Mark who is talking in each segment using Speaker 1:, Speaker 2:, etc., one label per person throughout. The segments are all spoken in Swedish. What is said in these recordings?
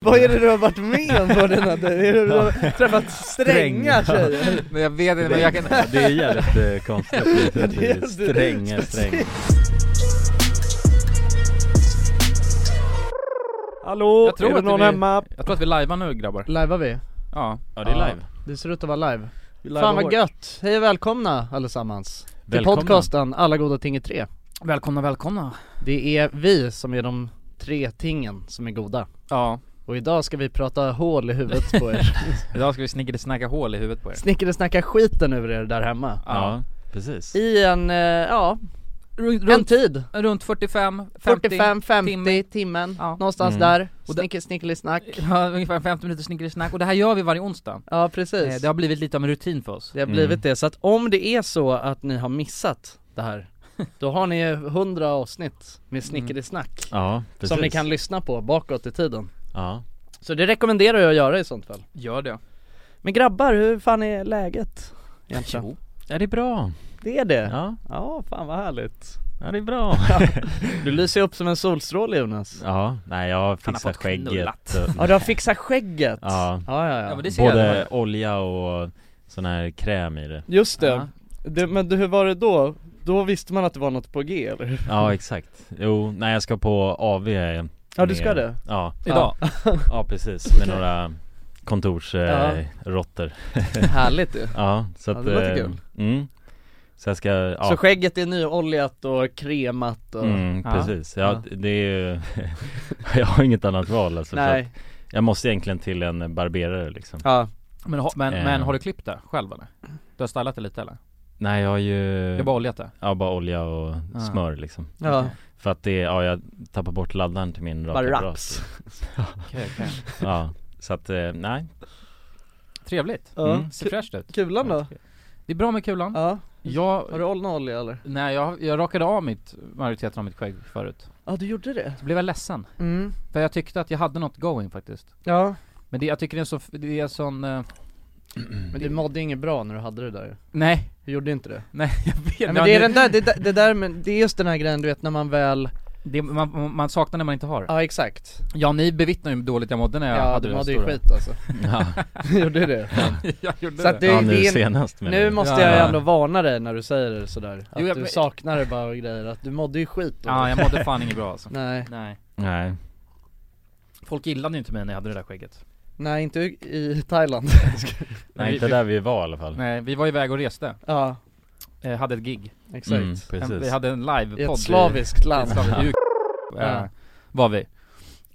Speaker 1: Vad är det du har varit med om på denna dejt? Är det du har träffat stränga tjejer?
Speaker 2: Men jag vet inte, men jag kan...
Speaker 3: Det är jävligt eh, konstigt, det
Speaker 1: Ja,
Speaker 3: är
Speaker 1: det är-
Speaker 3: inte stränga, stränga
Speaker 4: Hallå,
Speaker 2: Jag tror
Speaker 4: är det
Speaker 2: att
Speaker 4: någon
Speaker 2: vi-
Speaker 4: hemma?
Speaker 2: Jag tror att vi lajvar nu grabbar.
Speaker 1: Lajvar vi?
Speaker 2: Ja.
Speaker 3: Ja det är live
Speaker 1: Det ser ut att vara live.
Speaker 4: Vi
Speaker 1: Fan
Speaker 4: lajvar.
Speaker 1: vad gött! Hej och välkomna allesammans
Speaker 3: Välkomna.
Speaker 1: till podcasten Alla goda ting är tre.
Speaker 2: Välkomna, välkomna.
Speaker 1: Det är vi som är de tre tingen som är goda.
Speaker 2: Ja.
Speaker 1: Och idag ska vi prata hål i huvudet på er.
Speaker 2: Idag ska vi snickersnacka hål i huvudet på er.
Speaker 1: Snickare snackar skiten över er där hemma.
Speaker 3: Ja, precis
Speaker 1: I en, eh, ja, en
Speaker 2: Runt,
Speaker 1: tid.
Speaker 2: runt 45, 50.
Speaker 1: 45, 50
Speaker 2: timme.
Speaker 1: timmen,
Speaker 2: Ja.
Speaker 1: någonstans
Speaker 3: Mm.
Speaker 1: där.
Speaker 2: Och det-
Speaker 1: Snicker, snickelisnack.
Speaker 2: Ja, ungefär 50 minuter snickersnack. Och det här gör vi varje onsdag.
Speaker 1: Ja
Speaker 2: Eh,
Speaker 1: precis.
Speaker 2: Det har blivit lite av en rutin för oss.
Speaker 1: Det har blivit
Speaker 3: Mm.
Speaker 1: det, så att om det är så att ni har missat det här, då har ni 100 avsnitt med snickerisnack.
Speaker 3: Mm. Ja, precis
Speaker 1: Som ni kan lyssna på bakåt i tiden.
Speaker 3: Ja
Speaker 1: Så det rekommenderar jag att göra i sånt fall.
Speaker 2: Gör det.
Speaker 1: Men grabbar, hur fan är läget? Egentligen?
Speaker 2: Jo.
Speaker 3: Ja det är bra,
Speaker 1: Det är det? Ja.
Speaker 3: ja,
Speaker 1: fan vad härligt.
Speaker 3: ja det är bra
Speaker 1: Du lyser upp som en solstråle Jonas.
Speaker 3: Ja, nej jag har
Speaker 2: Han har
Speaker 3: fixat
Speaker 2: fått knullat.
Speaker 3: skägget
Speaker 1: Ja du har fixat skägget.
Speaker 3: Ja.
Speaker 1: ja, ja.
Speaker 2: Ja, men det ser
Speaker 3: Både
Speaker 2: jag.
Speaker 3: olja och sån här kräm i det
Speaker 1: Just det.
Speaker 2: Ja.
Speaker 1: det. Men du, hur var det då? Då visste man att det var något på G eller? hur?
Speaker 3: Ja exakt, jo, nej jag ska på AV med-
Speaker 1: Ja du ska det?
Speaker 3: Ja,
Speaker 2: Idag.
Speaker 3: ja precis, med några
Speaker 1: Ja.
Speaker 3: kontorsråttor
Speaker 1: Härligt du.
Speaker 3: Ja, så
Speaker 1: Ja,
Speaker 3: att
Speaker 1: det låter
Speaker 3: eh,
Speaker 1: kul.
Speaker 3: Mm. Så jag ska, ja
Speaker 1: Så skägget är nyoljat och kremat och...
Speaker 3: Mm,
Speaker 2: Ja.
Speaker 3: precis, ja,
Speaker 1: Ja.
Speaker 3: det är ju Jag har inget annat val alltså, Nej.
Speaker 1: Nej.
Speaker 3: Jag måste egentligen till en barberare liksom
Speaker 1: Ja.
Speaker 2: Men, har- men,
Speaker 3: Eh.
Speaker 2: men har du klippt det själv eller? Du har stylat det lite eller?
Speaker 3: Nej jag har ju,
Speaker 2: Du har bara oljat det?
Speaker 3: ja, bara olja och
Speaker 2: Ah.
Speaker 3: smör liksom
Speaker 1: Ja.
Speaker 3: För att det, ja jag tappar bort laddaren till min
Speaker 1: Bara
Speaker 3: rakapparat
Speaker 1: raps.
Speaker 2: Okej, okej.
Speaker 3: Ja, så att, eh, nej
Speaker 2: Trevligt.
Speaker 1: Ja.
Speaker 3: Mm.
Speaker 2: Ser fräscht ut.
Speaker 1: Kulan då?
Speaker 2: Det är bra med kulan.
Speaker 1: Ja. Har
Speaker 2: Jag,
Speaker 1: du ollnolja eller?
Speaker 2: nej jag, jag rakade av mitt, majoriteten av mitt skägg förut.
Speaker 1: Ja du gjorde det?
Speaker 2: Så blev jag ledsen.
Speaker 1: Mm.
Speaker 2: För jag tyckte att jag hade något going faktiskt.
Speaker 1: Ja.
Speaker 2: Men det, jag tycker det är så, det är sån, eh, Mm.
Speaker 1: Men du mådde inget bra när du hade det där
Speaker 2: nej,
Speaker 1: Du gjorde inte det?
Speaker 2: nej jag vet
Speaker 1: Nej, men det är den där, det, där- det där men det är just den här grejen du vet när man väl,
Speaker 2: det, man, man saknar när man inte har.
Speaker 1: ja exakt
Speaker 2: Ja ni bevittnar ju hur dåligt jag mådde när
Speaker 1: Ja,
Speaker 2: jag hade
Speaker 1: du
Speaker 2: det där
Speaker 1: mådde ju
Speaker 2: stora.
Speaker 1: skit alltså,
Speaker 3: ja,
Speaker 1: du gjorde det
Speaker 2: jag gjorde
Speaker 1: Så att
Speaker 2: det.
Speaker 1: det,
Speaker 3: ja nu
Speaker 1: det är,
Speaker 3: senast men
Speaker 1: nu måste
Speaker 2: Ja,
Speaker 1: jag
Speaker 2: ja.
Speaker 1: ändå varna dig när du säger det sådär, att
Speaker 2: Jo, jag-
Speaker 1: du saknar det bara och grejer, att du mådde ju skit då
Speaker 2: Ja jag mådde fan inget bra alltså.
Speaker 1: Nej,
Speaker 2: Nej.
Speaker 3: Nej,
Speaker 2: Folk gillade ju inte mig när jag hade det där skägget.
Speaker 1: nej inte i Thailand
Speaker 3: nej inte
Speaker 2: vi,
Speaker 3: där vi var i alla fall
Speaker 2: Nej vi var iväg och reste,
Speaker 1: Ja,
Speaker 2: eh, hade ett gig.
Speaker 1: exakt
Speaker 3: Mm,
Speaker 2: En,
Speaker 3: precis
Speaker 2: vi hade en livepodd.
Speaker 1: I ett slaviskt
Speaker 2: i- i
Speaker 1: land
Speaker 2: ett slaviskt- i-
Speaker 1: Ja.
Speaker 2: eh, Var vi.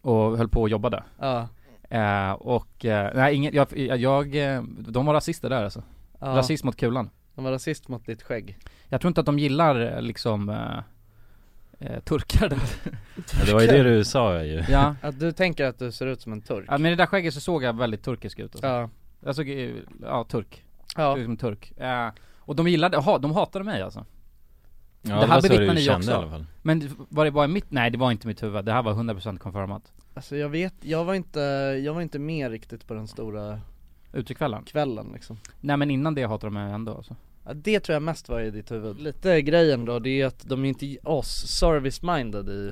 Speaker 2: Och höll på och jobbade.
Speaker 1: Ja,
Speaker 2: Eh, och, eh, nej ingen, jag, jag, jag, eh, de var rasister där alltså.
Speaker 1: ja.
Speaker 2: Rasism mot kulan.
Speaker 1: de var rasist mot ditt skägg
Speaker 2: Jag tror inte att de gillar eh, liksom eh, eh, turkar där.
Speaker 3: Ja, Det var ju det du sa ju
Speaker 2: ja.
Speaker 1: Att du tänker att du ser ut som en turk?
Speaker 2: ja, men det där skägget så såg jag väldigt turkisk ut alltså.
Speaker 1: Ja,
Speaker 2: Jag såg, eh, ja turk,
Speaker 1: ja,
Speaker 2: ut som turk. Eh, och de gillade, ha, de hatade mig alltså.
Speaker 3: ja,
Speaker 2: här
Speaker 3: var så
Speaker 2: bevittnar
Speaker 3: du
Speaker 2: ni
Speaker 3: kände
Speaker 2: också.
Speaker 3: i alla fall
Speaker 2: Men var det bara mitt, nej det var inte mitt huvud, det här var 100% konfirmat.
Speaker 1: alltså jag vet, jag var inte, jag var inte med riktigt på den stora
Speaker 2: Utekvällen.
Speaker 1: kvällen liksom
Speaker 2: Nej men innan det hatade de mig ändå alltså.
Speaker 1: Ja, det tror jag mest var i ditt huvud. Lite grejen då, det är att de är inte oss service-minded i...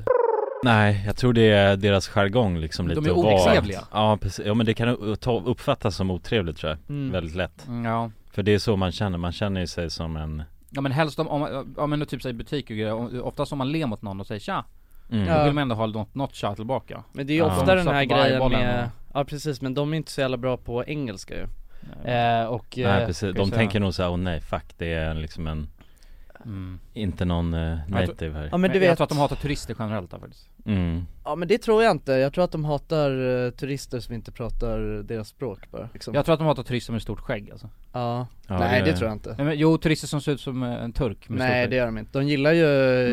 Speaker 3: Nej, jag tror det är deras jargong liksom
Speaker 2: De
Speaker 3: lite
Speaker 2: är
Speaker 3: att vara-
Speaker 2: otrevliga.
Speaker 3: Ja precis, ja men det kan u- ta- uppfattas som otrevligt tror jag,
Speaker 1: Mm.
Speaker 3: väldigt lätt
Speaker 2: Mm, ja.
Speaker 3: För det är så man känner, man känner ju sig som en
Speaker 2: ja men helst om, om ja men nu typ säger butik och grejer, om- oftast om man ler mot någon och säger tja,
Speaker 3: mm.
Speaker 2: då
Speaker 1: Ja.
Speaker 2: vill man ändå ha något, något tja tillbaka.
Speaker 1: Men det är ju
Speaker 3: Ja.
Speaker 1: ofta
Speaker 2: De
Speaker 1: den här
Speaker 2: satt bara i
Speaker 1: grejen
Speaker 2: bollen
Speaker 1: med... Ja precis, men de är inte så jävla bra på engelska ju.
Speaker 2: Eh,
Speaker 1: Eh, och...
Speaker 3: Nej
Speaker 1: eh,
Speaker 3: precis,
Speaker 2: kan jag
Speaker 3: de
Speaker 2: säga.
Speaker 3: tänker nog såhär, åh nej fuck det är liksom en,
Speaker 2: Mm.
Speaker 3: inte någon eh, native här
Speaker 1: ja men du
Speaker 2: jag
Speaker 1: vet...
Speaker 2: tror att de hatar turister generellt där faktiskt.
Speaker 3: mm.
Speaker 1: Ja men det tror jag inte, jag tror att de hatar eh, turister som inte pratar deras språk bara. Liksom.
Speaker 2: Jag tror att de hatar turister med stort skägg alltså.
Speaker 1: Ja.
Speaker 3: Ja,
Speaker 1: Nej det tror jag inte.
Speaker 2: Nej, men, jo, turister som ser ut som eh, en turk med
Speaker 1: Nej
Speaker 2: stort
Speaker 1: det
Speaker 2: skägg.
Speaker 1: gör de inte, de gillar ju,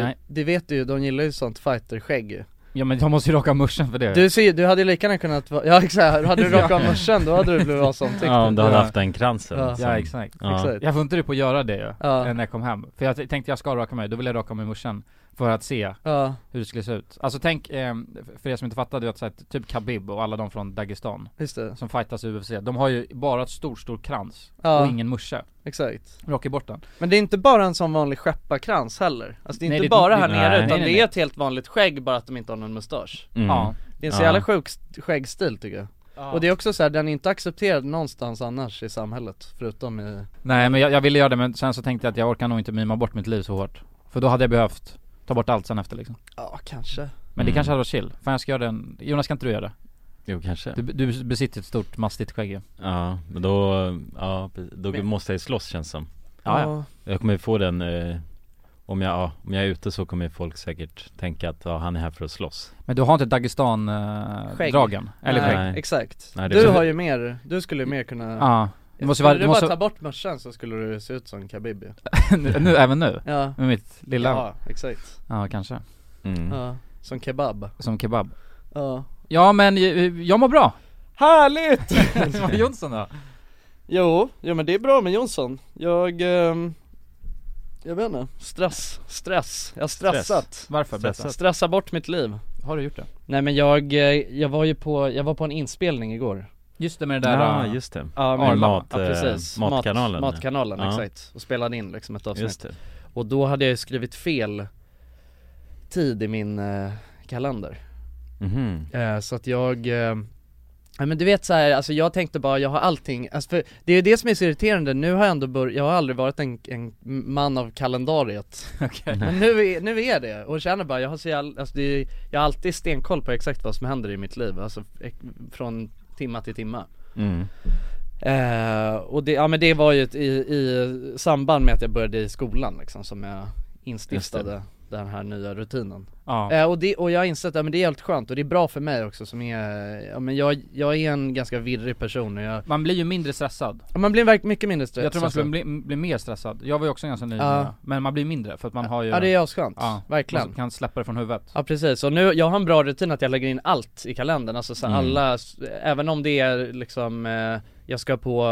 Speaker 2: Nej.
Speaker 1: det vet du ju, de gillar ju sånt fighter-skägg ju.
Speaker 2: Ja men de måste ju raka muschen för det
Speaker 1: Du ser ju, du hade ju lika gärna kunnat vara, ja exakt, hade du
Speaker 2: Ja.
Speaker 1: rockat av morsan då hade du blivit avsomtyckt
Speaker 3: Ja om du hade
Speaker 2: Ja.
Speaker 3: haft den kransen
Speaker 1: Ja.
Speaker 3: som-
Speaker 2: Ja exakt
Speaker 3: ja.
Speaker 1: Exakt.
Speaker 2: Jag funderade på att göra det ju,
Speaker 1: Ja.
Speaker 2: när jag kom hem För jag t- tänkte jag ska raka mig, då vill jag raka mig i muschen För att se
Speaker 1: Ja,
Speaker 2: hur det skulle se ut Alltså tänk, eh, för er som inte fattar, du vet såhär, typ Khabib och alla de från Dagestan
Speaker 1: just det.
Speaker 2: Som fightas i UFC, de har ju bara ett stor, stor krans
Speaker 1: Ja.
Speaker 2: och ingen musche
Speaker 1: Exakt.
Speaker 2: Raka bort den
Speaker 1: Men det är inte bara en sån vanlig skepparkrans heller. Alltså det är
Speaker 2: Nej,
Speaker 1: inte
Speaker 2: det-
Speaker 1: bara
Speaker 2: det-
Speaker 1: här
Speaker 3: nej.
Speaker 1: nere utan
Speaker 2: Nej, nej,
Speaker 1: det är
Speaker 2: nej.
Speaker 1: ett helt vanligt skägg bara att de inte har någon mustasch.
Speaker 3: Mm.
Speaker 2: Ja,
Speaker 1: Det är en så
Speaker 3: Ja.
Speaker 1: jävla sjuk st- skäggstil tycker jag Och det är också så här, den är inte accepterad någonstans annars i samhället förutom i
Speaker 2: Nej men jag, jag ville göra det men sen så tänkte jag att jag orkar nog inte mima bort mitt liv så hårt För då hade jag behövt ta bort allt sen efter liksom
Speaker 1: Ja kanske
Speaker 2: Men det
Speaker 3: Mm.
Speaker 2: kanske hade varit chill, fan jag ska göra den, Jonas kan inte du göra det?
Speaker 3: Jo kanske
Speaker 2: Du, du besitter ett stort mastigt skägg ju
Speaker 3: Ja, men då, ja, precis. då
Speaker 2: Men-
Speaker 3: måste jag ju slåss känns som
Speaker 2: Ja, ja.
Speaker 3: Jag kommer ju få den, eh, om, jag, ja, om jag är ute så kommer ju folk säkert tänka att ja, han är här för att slåss
Speaker 2: Men du har inte Dagestan-dragen?
Speaker 1: Skägg.
Speaker 2: Eller
Speaker 1: Nej,
Speaker 2: skägg?
Speaker 3: skägg.
Speaker 1: Exakt,
Speaker 3: Nej, det är
Speaker 1: du
Speaker 3: så-
Speaker 1: har ju mer, du skulle ju mer kunna
Speaker 2: Ja, det måste
Speaker 1: Skulle
Speaker 2: vara,
Speaker 1: du
Speaker 2: det måste,
Speaker 1: bara ta bort mössan så skulle du se ut som Khabibi
Speaker 2: nu, nu, även nu?
Speaker 1: Ja,
Speaker 2: Med mitt lilla? Ja,
Speaker 1: ja exakt,
Speaker 2: kanske,
Speaker 3: mm.
Speaker 1: ja, som kebab
Speaker 2: som kebab
Speaker 1: Ja
Speaker 2: Ja men ju- jag mår bra!
Speaker 1: Härligt!
Speaker 2: Vad är Jonsson då?
Speaker 1: Jo, jo men det är bra med Jonsson. Jag, ehm, jag vet inte, stress, stress, jag har stressat
Speaker 2: Varför?
Speaker 3: Stressad.
Speaker 2: Berätta.
Speaker 1: Stressa bort mitt liv
Speaker 2: Har du gjort det?
Speaker 1: Nej men jag, eh, jag var ju på, jag var på en inspelning igår
Speaker 2: Just det med det där
Speaker 3: Ja,
Speaker 2: äh,
Speaker 3: just det
Speaker 1: eh, Ja
Speaker 2: men-
Speaker 3: mat,
Speaker 1: ja,
Speaker 3: eh,
Speaker 1: precis,
Speaker 3: Matkanalen
Speaker 1: Mat, matkanalen,
Speaker 3: Ja.
Speaker 1: exakt, och spelade in liksom ett avsnitt
Speaker 3: Just det
Speaker 1: Och då hade jag ju skrivit fel tid i min eh, kalender
Speaker 3: Mhm.
Speaker 1: Eh, Så att jag, eh, ja men du vet så här, alltså jag tänkte bara jag har allting, alltså för det är ju det som är så irriterande, nu har jag ändå bör- jag har aldrig varit en, en man av kalendariet
Speaker 2: Okej.
Speaker 1: Men nu är, nu är det, och jag känner bara jag har så jävla, alltså det är, jag har alltid stenkoll på exakt vad som händer i mitt liv, alltså ek- från timma till timma
Speaker 3: Mm.
Speaker 1: Eh, och det, ja men det var ju ett, i, i samband med att jag började i skolan liksom som jag instiftade den här nya rutinen
Speaker 2: Ja,
Speaker 1: Eh, och, det, och jag har insett att men det är helt skönt och det är bra för mig också som är, ja men jag, jag är en ganska virrig person och jag,
Speaker 2: man blir ju mindre stressad
Speaker 1: ja, man blir verk- mycket mindre stressad
Speaker 2: Jag tror man skulle bli, bli mer stressad, jag var ju också ganska ny
Speaker 1: Ja.
Speaker 2: med det. Men man blir mindre för att man har ju
Speaker 1: Ja det är asskönt,
Speaker 2: Ja.
Speaker 1: verkligen
Speaker 2: Man kan släppa det från huvudet
Speaker 1: Ja precis, och nu, jag har en bra rutin att jag lägger in allt i kalendern, alltså så här
Speaker 3: Mm.
Speaker 1: alla, s- även om det är liksom eh, Jag ska på,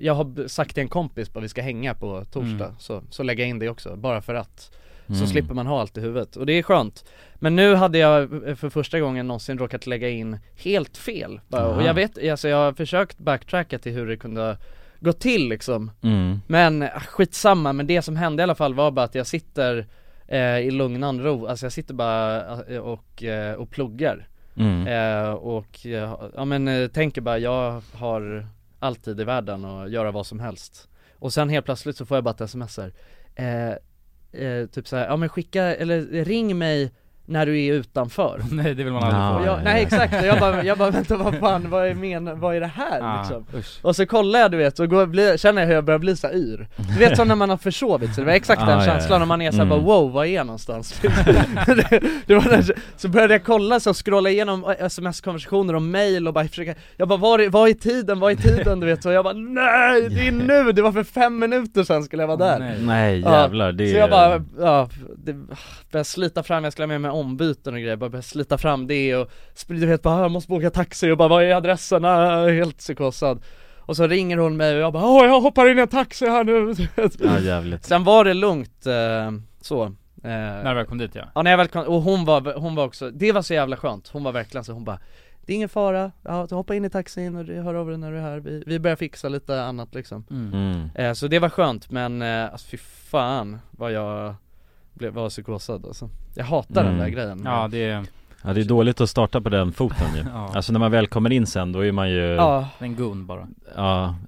Speaker 1: jag har b- sagt till en kompis bara vi ska hänga på torsdag,
Speaker 2: Mm.
Speaker 1: så, så lägger jag in det också, bara för att Så
Speaker 3: Mm.
Speaker 1: slipper man ha allt i huvudet, och det är skönt Men nu hade jag eh, för första gången någonsin råkat lägga in helt fel bara. och
Speaker 3: Aha.
Speaker 1: jag vet, alltså jag har försökt backtracka till hur det kunde gå till liksom
Speaker 3: Mm.
Speaker 1: men ah, skitsamma, men det som hände i alla fall var bara att jag sitter eh, i lugnan ro, alltså jag sitter bara eh, och, eh, och pluggar
Speaker 3: Mm.
Speaker 1: eh, och eh, ja men eh, tänker bara jag har alltid i världen att göra vad som helst och sen helt plötsligt så får jag bara ett sms här eh, eh, typ såhär, ja men skicka, eller ring mig när du är utanför
Speaker 2: Nej det vill man aldrig
Speaker 3: Ja,
Speaker 1: och
Speaker 2: få
Speaker 1: jag,
Speaker 3: ja,
Speaker 1: nej
Speaker 3: ja.
Speaker 1: exakt, och jag bara, jag bara vänta vad fan, vad är, men, vad är det här liksom?
Speaker 2: Ah, usch.
Speaker 1: Och så kollar jag du vet, och går, blir, känner jag hur jag börjar bli så här yr Du vet som när man har försovit sig, det var exakt
Speaker 3: Ah,
Speaker 1: den
Speaker 3: ja, ja.
Speaker 1: känslan när man är såhär
Speaker 3: Mm.
Speaker 1: bara wow, var är jag någonstans? det, det var den, så började jag kolla, så scrolla igenom eh, sms-konversationer och mail och bara försöka Jag bara var, är- var är tiden, var är tiden du vet? Och jag bara nej, det är nu, det var för fem minuter sedan skulle jag vara där
Speaker 2: Nej.
Speaker 3: Nej
Speaker 1: Ja,
Speaker 3: jävlar, det är
Speaker 1: Så jag bara, ja, det, började slita fram, jag skulle ha med mig ombyten och grejer, bara började slita fram det och spr- du vet bara, "Ah, jag måste boka taxi och bara, vad är adressen? Ah, helt psykosad Och så ringer hon mig och jag bara, åh jag hoppar in i en taxi här nu
Speaker 3: Ja jävligt
Speaker 1: Sen var det lugnt, eh, så eh,
Speaker 2: När du väl kom dit ja
Speaker 1: Ja när jag väl kom, och hon var, hon var också, det var så jävla skönt, hon var verkligen så, hon bara Det är ingen fara, ja, så hoppa in i taxin och hör av dig när du är här, vi, vi börjar fixa lite annat liksom
Speaker 3: mm.
Speaker 1: Eh, Så det var skönt men eh, alltså, fy fan vad jag blev, var psykosad alltså. Jag hatar den
Speaker 3: Mm.
Speaker 1: där grejen
Speaker 2: Ja det är,
Speaker 3: Ja det är dåligt att starta på den foten ju
Speaker 2: ja,
Speaker 3: Alltså när man väl kommer in sen då är man ju Ja,
Speaker 1: ja,
Speaker 2: en gun bara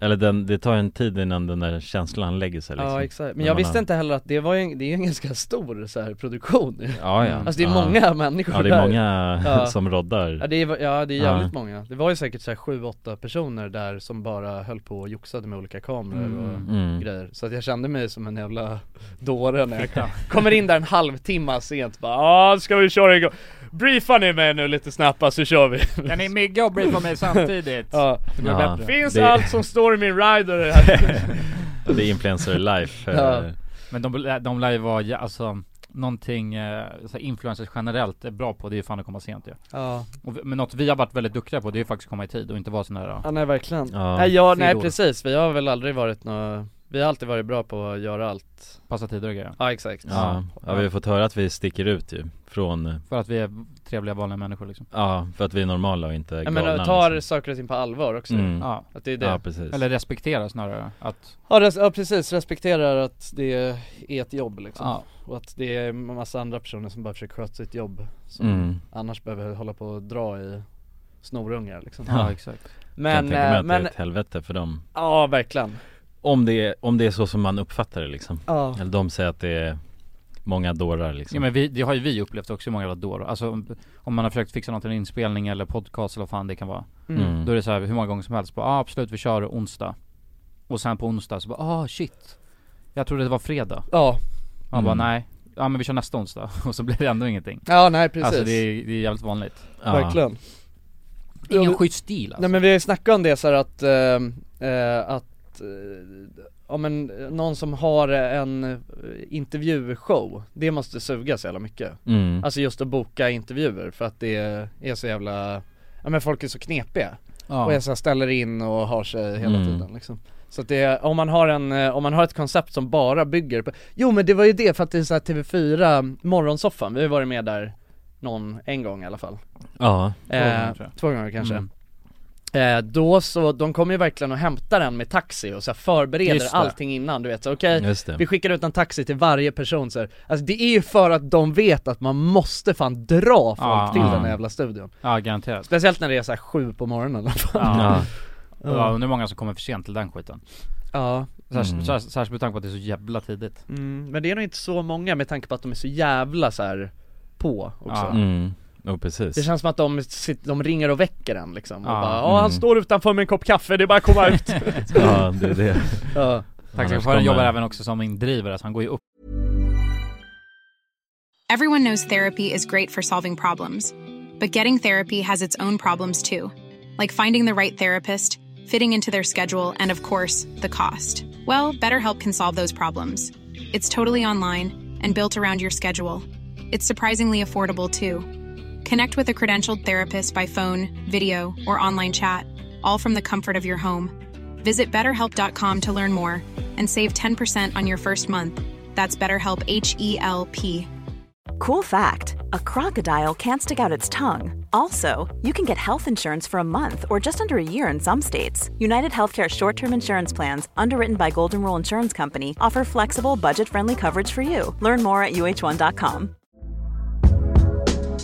Speaker 3: eller den, det tar en tid innan den där känslan lägger sig liksom
Speaker 1: ja exakt, men
Speaker 3: När
Speaker 1: jag
Speaker 3: man
Speaker 1: visste
Speaker 3: har-
Speaker 1: inte heller att det var ju, en- det är ju en ganska stor så här, produktion ju.
Speaker 3: Ja ja
Speaker 1: Alltså det är
Speaker 3: ja.
Speaker 1: många människor
Speaker 3: Ja det är
Speaker 1: där
Speaker 3: många
Speaker 1: Ja.
Speaker 3: som
Speaker 1: Ja
Speaker 3: roddar
Speaker 1: det, är, ja det är
Speaker 3: Ja.
Speaker 1: jävligt många, det var ju säkert såhär 7-8 personer där som bara höll på och joxade med olika kameror och
Speaker 2: Mm.
Speaker 3: mm.
Speaker 1: grejer Så att jag kände mig som en jävla dåre när jag
Speaker 2: Ja.
Speaker 1: Kommer in där en halvtimme sent bara ah, ska vi köra igång? Briefa ni mig nu lite snabbt så kör vi
Speaker 2: Kan ni mygga och briefa mig samtidigt?
Speaker 1: Ja.
Speaker 2: Det går
Speaker 3: Ja.
Speaker 2: bättre
Speaker 1: Finns
Speaker 3: Det-
Speaker 1: allt som står i min rider här?
Speaker 3: Det är influencer life eh,
Speaker 1: Ja.
Speaker 2: Men de, de lär ju vara, ja, alltså Någonting eh, så här influencers generellt är bra på, det är ju fan att komma sent ju
Speaker 1: ja.
Speaker 2: och, vi- Men något vi har varit väldigt duktiga på, det är ju faktiskt att komma i tid och inte vara sån här ja.
Speaker 1: nej verkligen
Speaker 3: Ja.
Speaker 1: Nej, ja, nej
Speaker 2: Fyllor.
Speaker 1: precis, vi har väl aldrig varit några Vi har alltid varit bra på att göra allt
Speaker 2: Passa tider och grejer.
Speaker 1: Ja exakt
Speaker 3: Ja, ja vi har fått höra att vi sticker ut ju från, eh,
Speaker 2: För att vi är trevliga vanliga människor liksom.
Speaker 3: ja för att vi är normala och inte
Speaker 1: Jag
Speaker 3: galna
Speaker 1: menar, tar
Speaker 3: liksom.
Speaker 1: saker och ting på allvar också
Speaker 3: mm.
Speaker 2: Ja.
Speaker 1: Att det är det
Speaker 3: Ja precis
Speaker 2: Eller respektera snarare. Att,
Speaker 1: Ja, res- ja precis, respekterar att det är ett jobb liksom
Speaker 2: ja.
Speaker 1: Och att det är en massa andra personer som bara försöker sköta sitt jobb Som
Speaker 3: mm.
Speaker 1: annars behöver hålla på och dra i snorungar liksom
Speaker 2: ja, exakt.
Speaker 3: Men,
Speaker 1: Men,
Speaker 3: kan tänka mig
Speaker 1: eh,
Speaker 3: att
Speaker 1: men,
Speaker 3: det är ett helvete för dem
Speaker 1: ja verkligen
Speaker 3: Om det, är, om det är så som man uppfattar det liksom
Speaker 1: Ja,
Speaker 3: Eller de säger att det är många dårar liksom
Speaker 2: Ja, men vi, det har ju vi upplevt också i många jävla dårar. Alltså om- om man har försökt fixa något, en inspelning eller podcast eller vad fan det kan vara.
Speaker 1: mm.
Speaker 3: Mm.
Speaker 2: Då är det så här hur många gånger som helst, bara ah, absolut vi kör onsdag. Och sen på onsdag så bara ah shit. Jag trodde det var fredag.
Speaker 1: ja,
Speaker 2: Man
Speaker 3: Mm.
Speaker 2: bara nej, ja men vi kör nästa onsdag. Och så blir det ändå ingenting.
Speaker 1: ja nej precis
Speaker 2: Alltså det är, det är jävligt vanligt.
Speaker 3: Ja.
Speaker 1: Verkligen Ja,
Speaker 2: Ingen
Speaker 1: vi-
Speaker 2: schysst stil alltså.
Speaker 1: Nej men vi har ju snackat om det så här att, eh, eh, att eh, Ja men eh, någon som har en eh, intervjushow, det måste suga så jävla mycket
Speaker 3: Mm.
Speaker 1: Alltså just att boka intervjuer för att det är så jävla Ja men folk är så knepiga och
Speaker 2: ja.
Speaker 1: jag så här ställer in och har sig hela
Speaker 3: Mm.
Speaker 1: tiden liksom Så att det, är- om man har en, eh, om man har ett koncept som bara bygger på Jo men det var ju det för att det är så här TV4 morgonsoffan, vi har ju varit med där någon, en gång i alla fall
Speaker 3: Ja,
Speaker 1: Två
Speaker 2: gånger, tror jag.
Speaker 1: Eh, Två gånger kanske
Speaker 2: Mm.
Speaker 1: Eh, då så, de kommer ju verkligen och hämtar en med taxi och så här förbereder
Speaker 2: Just det.
Speaker 1: allting innan du vet så okej
Speaker 3: just det
Speaker 1: Vi skickar ut en taxi till varje person så här. Alltså det är ju för att de vet att man måste fan dra folk
Speaker 2: Ja,
Speaker 1: till
Speaker 3: ja.
Speaker 1: den här jävla studion
Speaker 2: ja garanterat.
Speaker 1: Speciellt när det är så här sju på morgonen i alla fall.
Speaker 2: Ja. Ja,
Speaker 3: Ja,
Speaker 2: undrar hur många som kommer för sent till den skiten.
Speaker 1: ja.
Speaker 2: Särskilt,
Speaker 3: Mm.
Speaker 2: särskilt, särskilt med tanke på att det är så jävla tidigt.
Speaker 1: Mm, men det är nog inte så många med tanke på att de är så jävla så här på också
Speaker 2: Ja.
Speaker 3: mm. oh, precis
Speaker 1: Det känns som att de, sit- de ringer och väcker en liksom och
Speaker 2: Ja.
Speaker 1: bara "Ja, han
Speaker 3: Mm.
Speaker 1: står utanför med en kopp kaffe, det är bara att komma ut
Speaker 3: Ja, det är det
Speaker 1: ja.
Speaker 2: Taxichauffören
Speaker 3: kommer-
Speaker 2: jobbar även också som indrivare, så han går ju upp
Speaker 4: Everyone knows therapy is great for solving problems, but getting therapy has its own problems too, like finding the right therapist, fitting into their schedule, and of course, the cost. Well, BetterHelp can solve those problems. It's totally online and built around your schedule. It's surprisingly affordable too. Connect with a credentialed therapist by phone, video, or online chat, all from the comfort of your home. Visit betterhelp.com to learn more and save 10% on your first month. That's BetterHelp H E L P.
Speaker 5: Cool fact a crocodile can't stick out its tongue. Also, you can get health insurance for a month or just under a year in some states. United Healthcare short term insurance plans, underwritten by Golden Rule Insurance Company, offer flexible, budget friendly coverage for you. Learn more at uh1.com.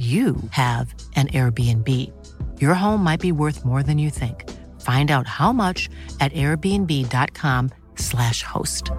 Speaker 6: you have an Airbnb. Your home might be worth more than you think. Find out how much at airbnb.com/slash host.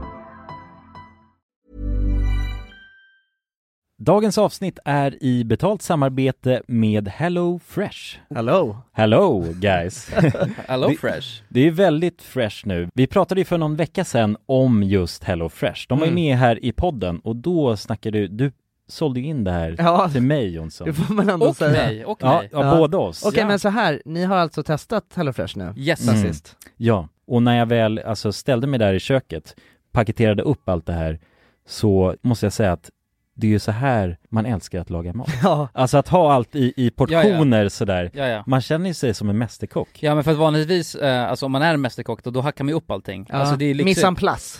Speaker 7: Dagens avsnitt är i betalt samarbete med Hello Fresh.
Speaker 1: Hello,
Speaker 7: Hello guys!
Speaker 1: hello
Speaker 7: Det-
Speaker 1: fresh
Speaker 7: Det är väldigt fresh nu. Vi pratade ju för någon vecka sedan om just Hello Fresh. De var
Speaker 1: Mm.
Speaker 7: ju med här i podden och då snackade du, du sålde ju in det här
Speaker 1: Ja,
Speaker 7: till mig Jonsson.
Speaker 1: det får man ändå
Speaker 2: och
Speaker 1: säga
Speaker 2: mig, och
Speaker 7: Ja,
Speaker 2: mig.
Speaker 7: ja,
Speaker 1: Ja.
Speaker 7: båda oss.
Speaker 1: Okej
Speaker 7: ja.
Speaker 1: men så här, ni har alltså testat HelloFresh nu?
Speaker 2: Yes. alltså.
Speaker 1: Sen
Speaker 7: Mm.
Speaker 1: sist?
Speaker 7: ja, och när jag väl alltså, ställde mig där i köket, paketerade upp allt det här, så måste jag säga att det är ju så här man älskar att laga mat.
Speaker 1: Ja,
Speaker 7: Alltså att ha allt i, i portioner sådär.
Speaker 2: Ja, ja.
Speaker 7: Man känner ju sig som en mästerkock.
Speaker 2: Ja men för att vanligtvis, eh, alltså om man är en mästerkock då, då hackar man ju upp allting.
Speaker 1: ja.
Speaker 2: Alltså det är lyxigt.
Speaker 1: Mise en place,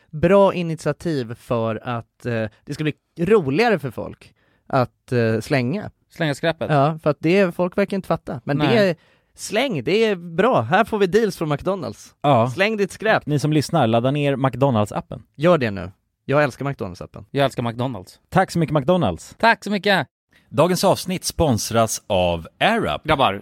Speaker 1: bra initiativ för att eh, det ska bli roligare för folk att eh, slänga
Speaker 2: Slänga skräpet.
Speaker 1: Ja, för att det, folk verkar inte fatta Men det
Speaker 2: Nej.
Speaker 1: är, släng, det är bra, här får vi deals från McDonalds
Speaker 3: Ja.
Speaker 1: Släng ditt skräp,
Speaker 3: Ni som lyssnar, ladda ner McDonalds-appen.
Speaker 1: gör det nu Jag älskar McDonalds-appen
Speaker 2: Jag älskar McDonalds.
Speaker 3: Tack så mycket McDonalds!
Speaker 2: Tack så mycket!
Speaker 3: Dagens avsnitt sponsras av AirUp.
Speaker 8: Grabbar,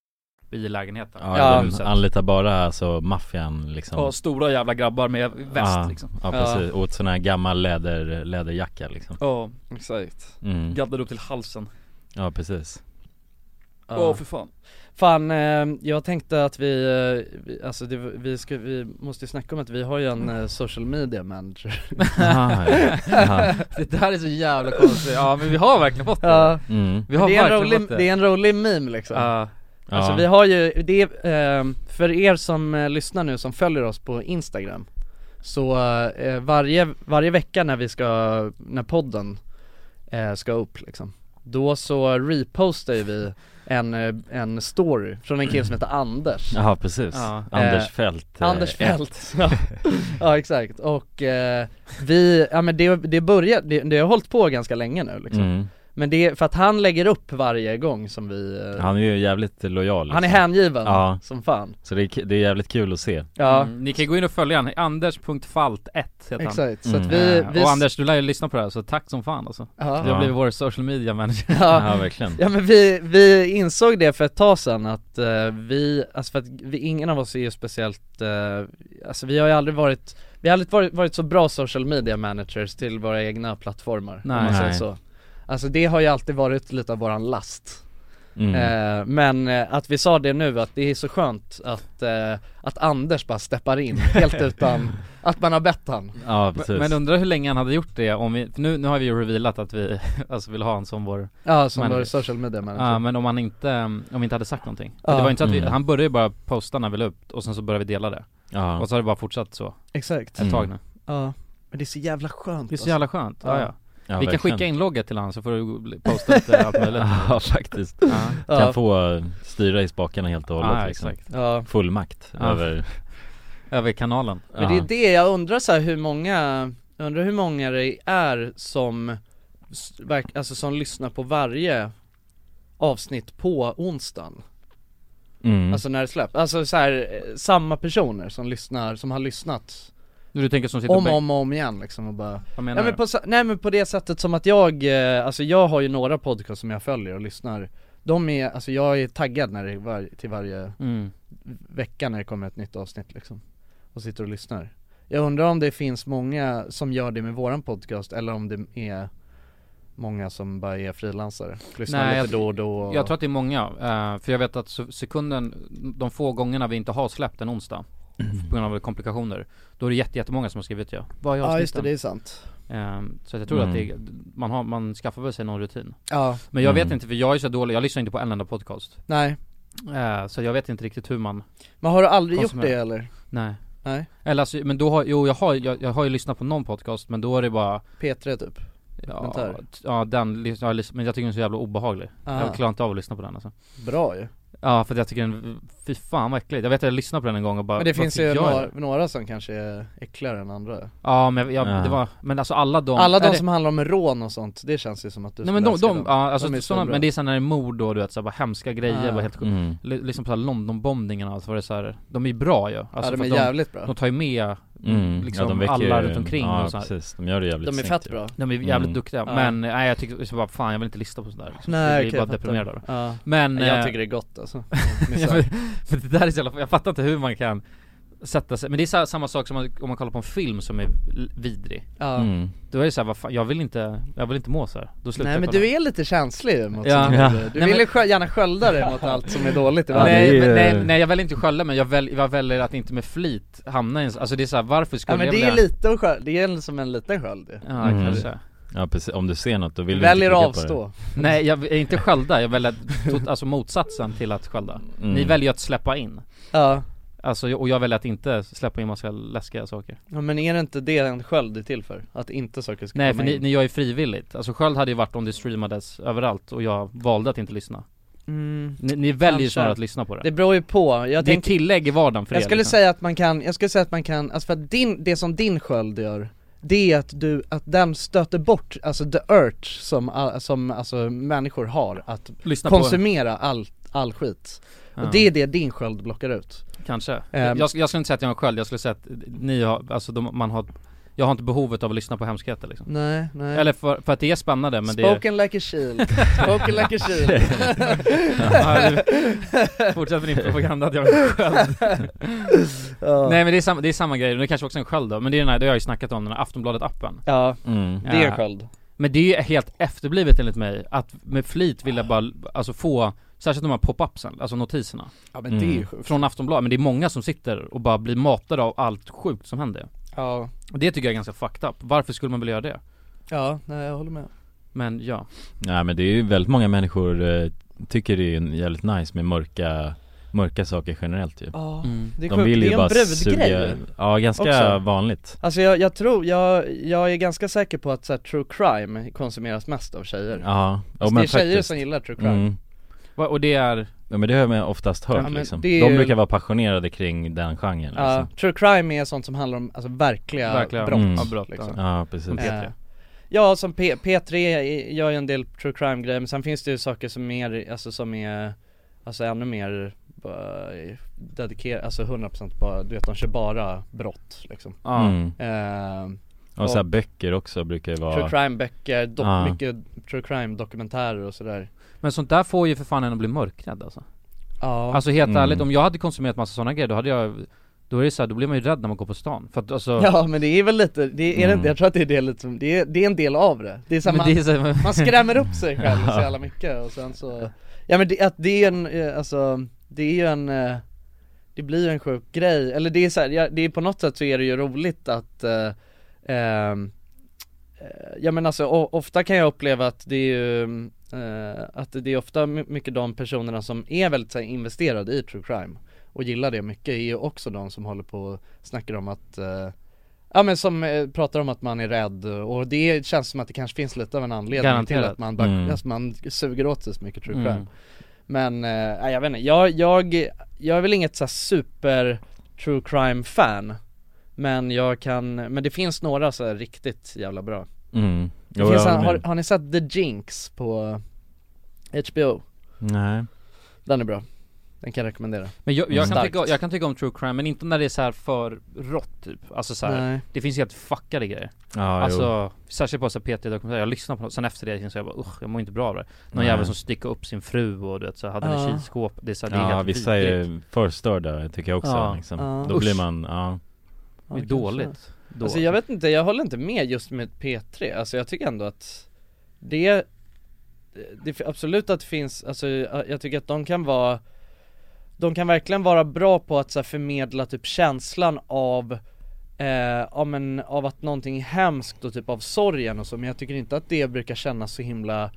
Speaker 2: I lägenheten.
Speaker 9: Ja,
Speaker 1: Ja.
Speaker 9: de anlitar bara alltså maffian liksom
Speaker 2: Och stora jävla grabbar med väst
Speaker 9: ja,
Speaker 2: liksom.
Speaker 9: Ja precis, och sån här gammal läder, läderjacka liksom
Speaker 2: Ja, exakt.
Speaker 9: mm.
Speaker 2: Gaddad upp till halsen.
Speaker 9: Ja precis
Speaker 2: Åh
Speaker 1: Ja.
Speaker 2: för fan.
Speaker 1: Fan, eh, jag tänkte att vi, eh, vi- alltså det, vi, ska, vi måste ju snacka om att vi har ju en eh, social media manager
Speaker 9: Aha, ja. Aha.
Speaker 2: Det där är så jävla konstigt. Ja men vi har verkligen fått det.
Speaker 9: Mm.
Speaker 2: Vi har
Speaker 1: det, är en
Speaker 2: verkligen
Speaker 1: rolig,
Speaker 2: fått det.
Speaker 1: det är en rolig meme liksom
Speaker 2: Ja.
Speaker 9: Ja.
Speaker 1: Alltså vi har ju, det är, eh, för er som eh, lyssnar nu som följer oss på Instagram Så eh, varje, varje vecka när vi ska, när podden eh, ska upp liksom Då så repostar ju vi en, eh, en story från en kille som heter Anders
Speaker 9: Jaha precis,
Speaker 2: Ja.
Speaker 9: Anders
Speaker 1: Eh,
Speaker 9: Fält eh,
Speaker 1: Anders
Speaker 9: ett.
Speaker 1: Fält, ja. ja exakt, och eh, vi, ja men det, det börjar, det, det har hållit på ganska länge nu liksom
Speaker 9: mm.
Speaker 1: Men det är för att han lägger upp varje gång som vi, eh,
Speaker 9: Han är ju jävligt lojal liksom.
Speaker 1: han är hängiven
Speaker 9: Ja. Mm.
Speaker 1: som fan
Speaker 9: Så det är, k- det är jävligt kul att se
Speaker 1: Ja,
Speaker 2: Mm, ni kan gå in och följa han, anders.falt1 heter han.
Speaker 1: Exakt, så
Speaker 9: Mm.
Speaker 1: att vi,
Speaker 2: Eh,
Speaker 1: vi
Speaker 2: Och Anders, du lär ju lyssna på det här så tack som fan alltså. Du
Speaker 1: ja,
Speaker 2: har blivit vår social media manager.
Speaker 1: ja,
Speaker 9: Ja verkligen
Speaker 1: ja men vi, vi insåg det för ett tag sedan att eh, vi, alltså för att vi, ingen av oss är ju speciellt, eh, alltså vi har ju aldrig varit, vi har aldrig varit, varit så bra social media managers till våra egna plattformar om
Speaker 2: Nej.
Speaker 1: man säger
Speaker 9: Nej.
Speaker 1: så Alltså det har ju alltid varit lite av våran last
Speaker 9: Mm.
Speaker 2: Mm.
Speaker 1: Eh, men eh, att vi sa det nu, att det är så skönt att, eh, att Anders bara steppar in helt utan att man har bett han
Speaker 3: Ja
Speaker 2: Men,
Speaker 3: precis
Speaker 2: men undrar hur länge han hade gjort det om vi, för nu, nu har vi ju revealat att vi alltså vill ha en som vår,
Speaker 1: Ja, som
Speaker 2: Men-
Speaker 1: vår social media manager
Speaker 2: ja men om han inte, um, om vi inte hade sagt någonting
Speaker 1: Ja.
Speaker 2: Det var inte så att vi,
Speaker 3: Mm.
Speaker 2: han började ju bara posta när vi la upp och sen så började vi dela det
Speaker 3: ja. Mm.
Speaker 2: Och så har det bara fortsatt så,
Speaker 1: Exakt,
Speaker 2: ett tag nu
Speaker 1: ja Men det är så jävla skönt alltså.
Speaker 2: Det är så jävla skönt, ja,
Speaker 1: Ja.
Speaker 2: ja.
Speaker 3: ja,
Speaker 2: Vi kan
Speaker 3: verkligen.
Speaker 2: skicka inlogget till honom så får du posta lite allt möjligt
Speaker 3: Ja faktiskt,
Speaker 2: ja.
Speaker 1: alltså.
Speaker 3: kan
Speaker 1: ja.
Speaker 3: få eh, styra i spakarna helt och hållet
Speaker 2: ja,
Speaker 3: liksom.
Speaker 2: exakt
Speaker 1: ja.
Speaker 3: Full makt
Speaker 2: Ja.
Speaker 3: över
Speaker 2: Över kanalen
Speaker 1: Men det är det jag undrar så här hur många, jag undrar hur många det är som, s- verk- alltså som lyssnar på varje avsnitt på onsdagen
Speaker 3: mm.
Speaker 1: Alltså när det släpps, alltså så här, eh, samma personer som lyssnar, som har lyssnat
Speaker 2: Du tänker som sitter
Speaker 1: om
Speaker 2: på
Speaker 1: och om, och om igen liksom och bara
Speaker 2: Vad menar
Speaker 1: nej men,
Speaker 2: du?
Speaker 1: på, sa- nej men på det sättet som att jag, eh, alltså jag har ju några podcast som jag följer och lyssnar De är, alltså jag är taggad när det var, till varje
Speaker 2: Mm.
Speaker 1: vecka när det kommer ett nytt avsnitt liksom Och sitter och lyssnar Jag undrar om det finns många som gör det med våran podcast eller om det är många som bara är frilansare, lyssnar
Speaker 2: Nej,
Speaker 1: lite
Speaker 2: jag-
Speaker 1: då och då och,
Speaker 2: Jag tror att det är många, eh, för jag vet att se- sekunden, de få gångerna vi inte har släppt en onsdag
Speaker 3: Mm.
Speaker 2: På grund av komplikationer Då är det jätte, jättemånga som har skrivit ja Vad är
Speaker 1: Ja just det, det
Speaker 2: avsnitten?
Speaker 1: är sant
Speaker 2: Ehm, Så att jag tror
Speaker 3: Mm.
Speaker 2: att det, är- man, har, man skaffar väl sig någon rutin
Speaker 1: Ja,
Speaker 2: Men jag vet
Speaker 3: Mm.
Speaker 2: inte för jag är så dålig, jag lyssnar inte på en enda podcast
Speaker 1: nej
Speaker 2: Eh, Så jag vet inte riktigt hur man,
Speaker 1: Men har du aldrig gjort
Speaker 2: Konsumerar.
Speaker 1: det eller?
Speaker 2: nej
Speaker 1: Nej.
Speaker 2: Eller alltså, men då har, jo jag har, jag, jag har ju lyssnat på någon podcast men då är det bara
Speaker 1: P3 typ?
Speaker 2: Ja,
Speaker 1: Dokumentär.
Speaker 2: t- ja den, lys- ja, lys- men jag tycker den är så jävla obehaglig
Speaker 1: Ah.
Speaker 2: Jag klarar inte av att lyssna på den alltså.
Speaker 1: Bra ju.
Speaker 2: Ja för att jag tycker den, fy fan vad äckligt. Jag vet att jag lyssnade på den en gång och bara
Speaker 1: Men det
Speaker 2: vad
Speaker 1: finns
Speaker 2: fick
Speaker 1: ju
Speaker 2: jag
Speaker 1: några,
Speaker 2: det?
Speaker 1: några som kanske är äckligare än andra
Speaker 2: Ja men jag,
Speaker 3: Ja.
Speaker 2: det var, men alltså alla de
Speaker 1: Alla
Speaker 2: är
Speaker 1: de
Speaker 2: det-
Speaker 1: som handlar om rån och sånt, det känns ju som att du
Speaker 2: Nej men de,
Speaker 1: skulle
Speaker 2: de,
Speaker 1: älska
Speaker 2: ja alltså
Speaker 1: De är
Speaker 2: sådana,
Speaker 1: svinbra.
Speaker 2: men det är såhär när det är mord då du vet såhär bara hemska grejer,
Speaker 1: Ah.
Speaker 2: bara helt sjukt.
Speaker 3: mm.
Speaker 2: L- Liksom på såhär Londonbombningarna så var det såhär, de är ju bra ju alltså,
Speaker 1: ja, de
Speaker 2: för
Speaker 1: är
Speaker 2: att
Speaker 1: jävligt bra.
Speaker 2: de tar ju med
Speaker 3: Mm.
Speaker 2: liksom
Speaker 3: ja, de väcker
Speaker 2: alla
Speaker 3: ju-
Speaker 2: runt omkring
Speaker 3: ja,
Speaker 2: och så här.
Speaker 3: precis, de gör det jävligt
Speaker 1: De är
Speaker 3: snyggt
Speaker 1: fett
Speaker 3: ju.
Speaker 1: bra.
Speaker 2: De är jävligt
Speaker 3: Mm.
Speaker 2: duktiga,
Speaker 1: Ja.
Speaker 2: men nej jag tyckte, så bara fan jag vill inte lyssna på sådär liksom.
Speaker 1: Nej,
Speaker 2: Jag
Speaker 1: okej,
Speaker 2: blir bara
Speaker 1: jag fattar.
Speaker 2: deprimerad av det
Speaker 1: Ja.
Speaker 2: Men,
Speaker 1: Nej, jag
Speaker 2: eh,
Speaker 1: tycker det är gott alltså.
Speaker 2: Ja, men, men det där är så jävla, jag fattar inte hur man kan sätta sig, men det är så här, samma sak som man, om man kollar på en film som är l- vidrig
Speaker 1: ja.
Speaker 3: Mm.
Speaker 2: Då är det så här, vad fan, jag vill inte, jag vill inte må så här. Då slutar
Speaker 1: Nej
Speaker 2: jag
Speaker 1: men
Speaker 2: kolla.
Speaker 1: du är lite känslig ju mot
Speaker 2: Ja.
Speaker 1: sånt
Speaker 2: Ja.
Speaker 1: där. Du
Speaker 2: Nej,
Speaker 1: vill ju
Speaker 2: men-
Speaker 1: skö- gärna skölda dig mot allt som är dåligt i världen.
Speaker 3: det är
Speaker 2: nej,
Speaker 3: ju-
Speaker 2: men, nej, nej jag väljer inte skälla men jag, väl, jag väljer att inte med flit hamna i en, alltså det är så här, varför skulle
Speaker 1: Ja men
Speaker 2: jag
Speaker 1: det är
Speaker 2: vilja-
Speaker 1: lite att sköl- det är som en liten sköld ju.
Speaker 2: Ja
Speaker 3: Mm.
Speaker 2: kanske
Speaker 3: Ja precis, om du ser något då vill du
Speaker 1: Väljer
Speaker 3: inte
Speaker 1: att
Speaker 3: klicka på
Speaker 1: avstå.
Speaker 2: Nej jag är inte skölda, jag väljer tot, alltså motsatsen till att skölda
Speaker 3: det. Mm.
Speaker 2: Ni väljer att släppa in
Speaker 1: Ja.
Speaker 2: Alltså och jag väljer att inte släppa in massa läskiga saker
Speaker 1: ja, men är det inte det en sköld är till för? Att inte saker ska
Speaker 2: Nej
Speaker 1: komma
Speaker 2: för ni,
Speaker 1: in?
Speaker 2: ni gör ju frivilligt, alltså sköld hade ju varit om det streamades överallt och jag valde att inte lyssna
Speaker 1: Mm.
Speaker 2: Ni, ni väljer ju
Speaker 1: Kanske.
Speaker 2: snarare att lyssna på det
Speaker 1: Det beror ju på, jag
Speaker 2: Det är
Speaker 1: tänker
Speaker 2: tillägg i vardagen för
Speaker 1: jag
Speaker 2: er
Speaker 1: skulle
Speaker 2: liksom.
Speaker 1: säga att man kan, jag skulle säga att man kan, alltså för att din, det som din sköld gör det är att du, att den stöter bort, alltså the urge som, all- som alltså människor har att
Speaker 2: lyssna
Speaker 1: konsumera all, all skit
Speaker 2: på,
Speaker 1: Och det är det din sköld blockar ut
Speaker 2: Kanske.
Speaker 1: Ehm.
Speaker 2: jag, jag skulle inte säga att jag har en sköld, jag skulle säga att ni har, alltså de, man har Jag har inte behovet av att lyssna på hemskheter liksom
Speaker 1: Nej, nej
Speaker 2: Eller för, för att det är spännande men det är...
Speaker 1: Spoken like a shield, spoken like a shield
Speaker 2: Ja, du- Fortsätt med din propaganda att jag har en sköld
Speaker 1: Ja.
Speaker 2: Nej men det är samma, det är samma grej, det är kanske också en sköld då, men det är den här, det har jag ju snackat om, den här Aftonbladet-appen
Speaker 1: Ja,
Speaker 3: Mm.
Speaker 1: det är en
Speaker 2: Ja.
Speaker 1: sköld
Speaker 2: Men det är ju helt efterblivet enligt mig, att med flit vilja bara, alltså få Särskilt de här pop-upsen, alltså notiserna
Speaker 1: Ja
Speaker 3: men det är ju
Speaker 1: sjukt
Speaker 2: Från Aftonbladet, men det är många som sitter och bara blir matade av allt sjukt som händer
Speaker 1: Ja,
Speaker 2: Och det tycker jag är ganska fucked up, varför skulle man vilja göra det?
Speaker 1: ja, nej jag håller med
Speaker 2: Men ja,
Speaker 3: Nej men det är ju väldigt många människor eh, tycker det är en jävligt nice med mörka, mörka saker generellt ju
Speaker 1: Ja,
Speaker 2: Mm.
Speaker 1: det är sjukt, det är en brudgrej
Speaker 3: ja ganska
Speaker 1: också.
Speaker 3: vanligt
Speaker 1: Alltså jag, jag tror, jag, jag är ganska säker på att så här, true crime konsumeras mest av tjejer
Speaker 3: Ja, ja
Speaker 1: alltså,
Speaker 3: men
Speaker 1: Det är tjejer
Speaker 3: faktiskt.
Speaker 1: som gillar true crime
Speaker 3: Mm.
Speaker 2: Va- och det är,
Speaker 3: Ja men det har man oftast
Speaker 1: Ja,
Speaker 3: hört
Speaker 1: men
Speaker 3: liksom.
Speaker 1: det är ju-
Speaker 3: De brukar vara passionerade kring den genren
Speaker 1: Ja,
Speaker 3: liksom.
Speaker 1: true crime är sånt som handlar om alltså, verkliga,
Speaker 2: Verkliga
Speaker 1: brott,
Speaker 3: mm.
Speaker 2: ja, brott,
Speaker 1: liksom.
Speaker 2: ja.
Speaker 3: Ja precis
Speaker 2: Som P3.
Speaker 1: Eh, Ja, som P- P3 är- gör ju en del true crime grejer men sen finns det ju saker som är, alltså som är, alltså ännu mer eh, dedikerade, alltså 100% bara, du vet de kör bara brott liksom
Speaker 2: Ja.
Speaker 3: Mm.
Speaker 1: Eh,
Speaker 3: Och så här böcker också brukar ju
Speaker 1: True
Speaker 3: vara
Speaker 1: crime böcker, dock,
Speaker 3: Ja.
Speaker 1: mycket true crime dokumentärer och sådär
Speaker 2: Men sånt där får ju för fan en att bli mörkrädd alltså
Speaker 1: Ja,
Speaker 2: Alltså helt
Speaker 3: Mm.
Speaker 2: ärligt, om jag hade konsumerat massa sådana grejer då hade jag Då är det så här, då blir man ju rädd när man går på stan För att alltså
Speaker 1: Ja men det är väl lite, det är, är det
Speaker 3: Mm.
Speaker 1: inte, jag tror att det är det lite som, det är, det är en del av det Det är så här,
Speaker 2: men
Speaker 1: man,
Speaker 2: det är så här,
Speaker 1: man skrämmer upp sig själv så jävla mycket och sen så Ja men det, att det är en, eh, alltså, det är ju en eh, Det blir ju en sjuk grej, eller det är så här, ja, det är på något sätt så är det ju roligt att eh, ehm, eh, Ja men alltså o- ofta kan jag uppleva att det är ju eh, Att det är ofta my- mycket de personerna som är väldigt så här, investerade i true crime och gillar det mycket är ju också de som håller på och snackar om att eh, Ja men som eh, pratar om att man är rädd och det känns som att det kanske finns lite av en anledning till
Speaker 2: Garanterat.
Speaker 1: att man bara,
Speaker 3: Mm.
Speaker 1: alltså, man suger åt sig så mycket true crime
Speaker 2: Mm.
Speaker 1: Men, eh, nej, jag vet inte, jag, jag, jag är väl inget så här super true crime fan Men jag kan, men det finns några så här riktigt jävla bra
Speaker 3: Mm.
Speaker 1: det
Speaker 3: Jo,
Speaker 1: finns,
Speaker 3: jag håller
Speaker 1: en,
Speaker 3: med.
Speaker 1: har, har ni sett The Jinx på HBO?
Speaker 3: Nej.
Speaker 1: Den är bra, den kan jag rekommendera
Speaker 2: Men jag, jag, kan
Speaker 1: Starkt.
Speaker 2: tycka, jag kan tycka om true crime, men inte när det är så här för rått typ Alltså så här,
Speaker 1: Nej.
Speaker 2: det finns helt fuckade grejer
Speaker 3: Ja, jo.
Speaker 2: Alltså, särskilt på så här P3 dokumentärer, jag lyssnar på något, sen efter det så jag bara usch, jag mår inte bra av det Någon
Speaker 3: Nej.
Speaker 2: jävel som stickar upp sin fru och du vet så här, hade henne i
Speaker 1: Ja.
Speaker 2: kylskåp, det är så här, det är
Speaker 3: Ja
Speaker 2: helt
Speaker 3: vissa
Speaker 2: vidrigt.
Speaker 3: är förstörda tycker jag också
Speaker 2: Ja.
Speaker 3: liksom.
Speaker 1: Ja.
Speaker 3: Då blir
Speaker 2: Usch.
Speaker 3: man, ja
Speaker 1: Ja,
Speaker 2: det är
Speaker 1: kanske.
Speaker 2: dåligt då.
Speaker 1: Alltså jag vet inte, jag håller inte med just med P3, alltså jag tycker ändå att det, det absolut att det finns, alltså jag tycker att de kan vara, de kan verkligen vara bra på att så här, förmedla typ känslan av Eh, ja, men, av att någonting är hemskt och typ av sorgen och så men jag tycker inte att det brukar kännas så himla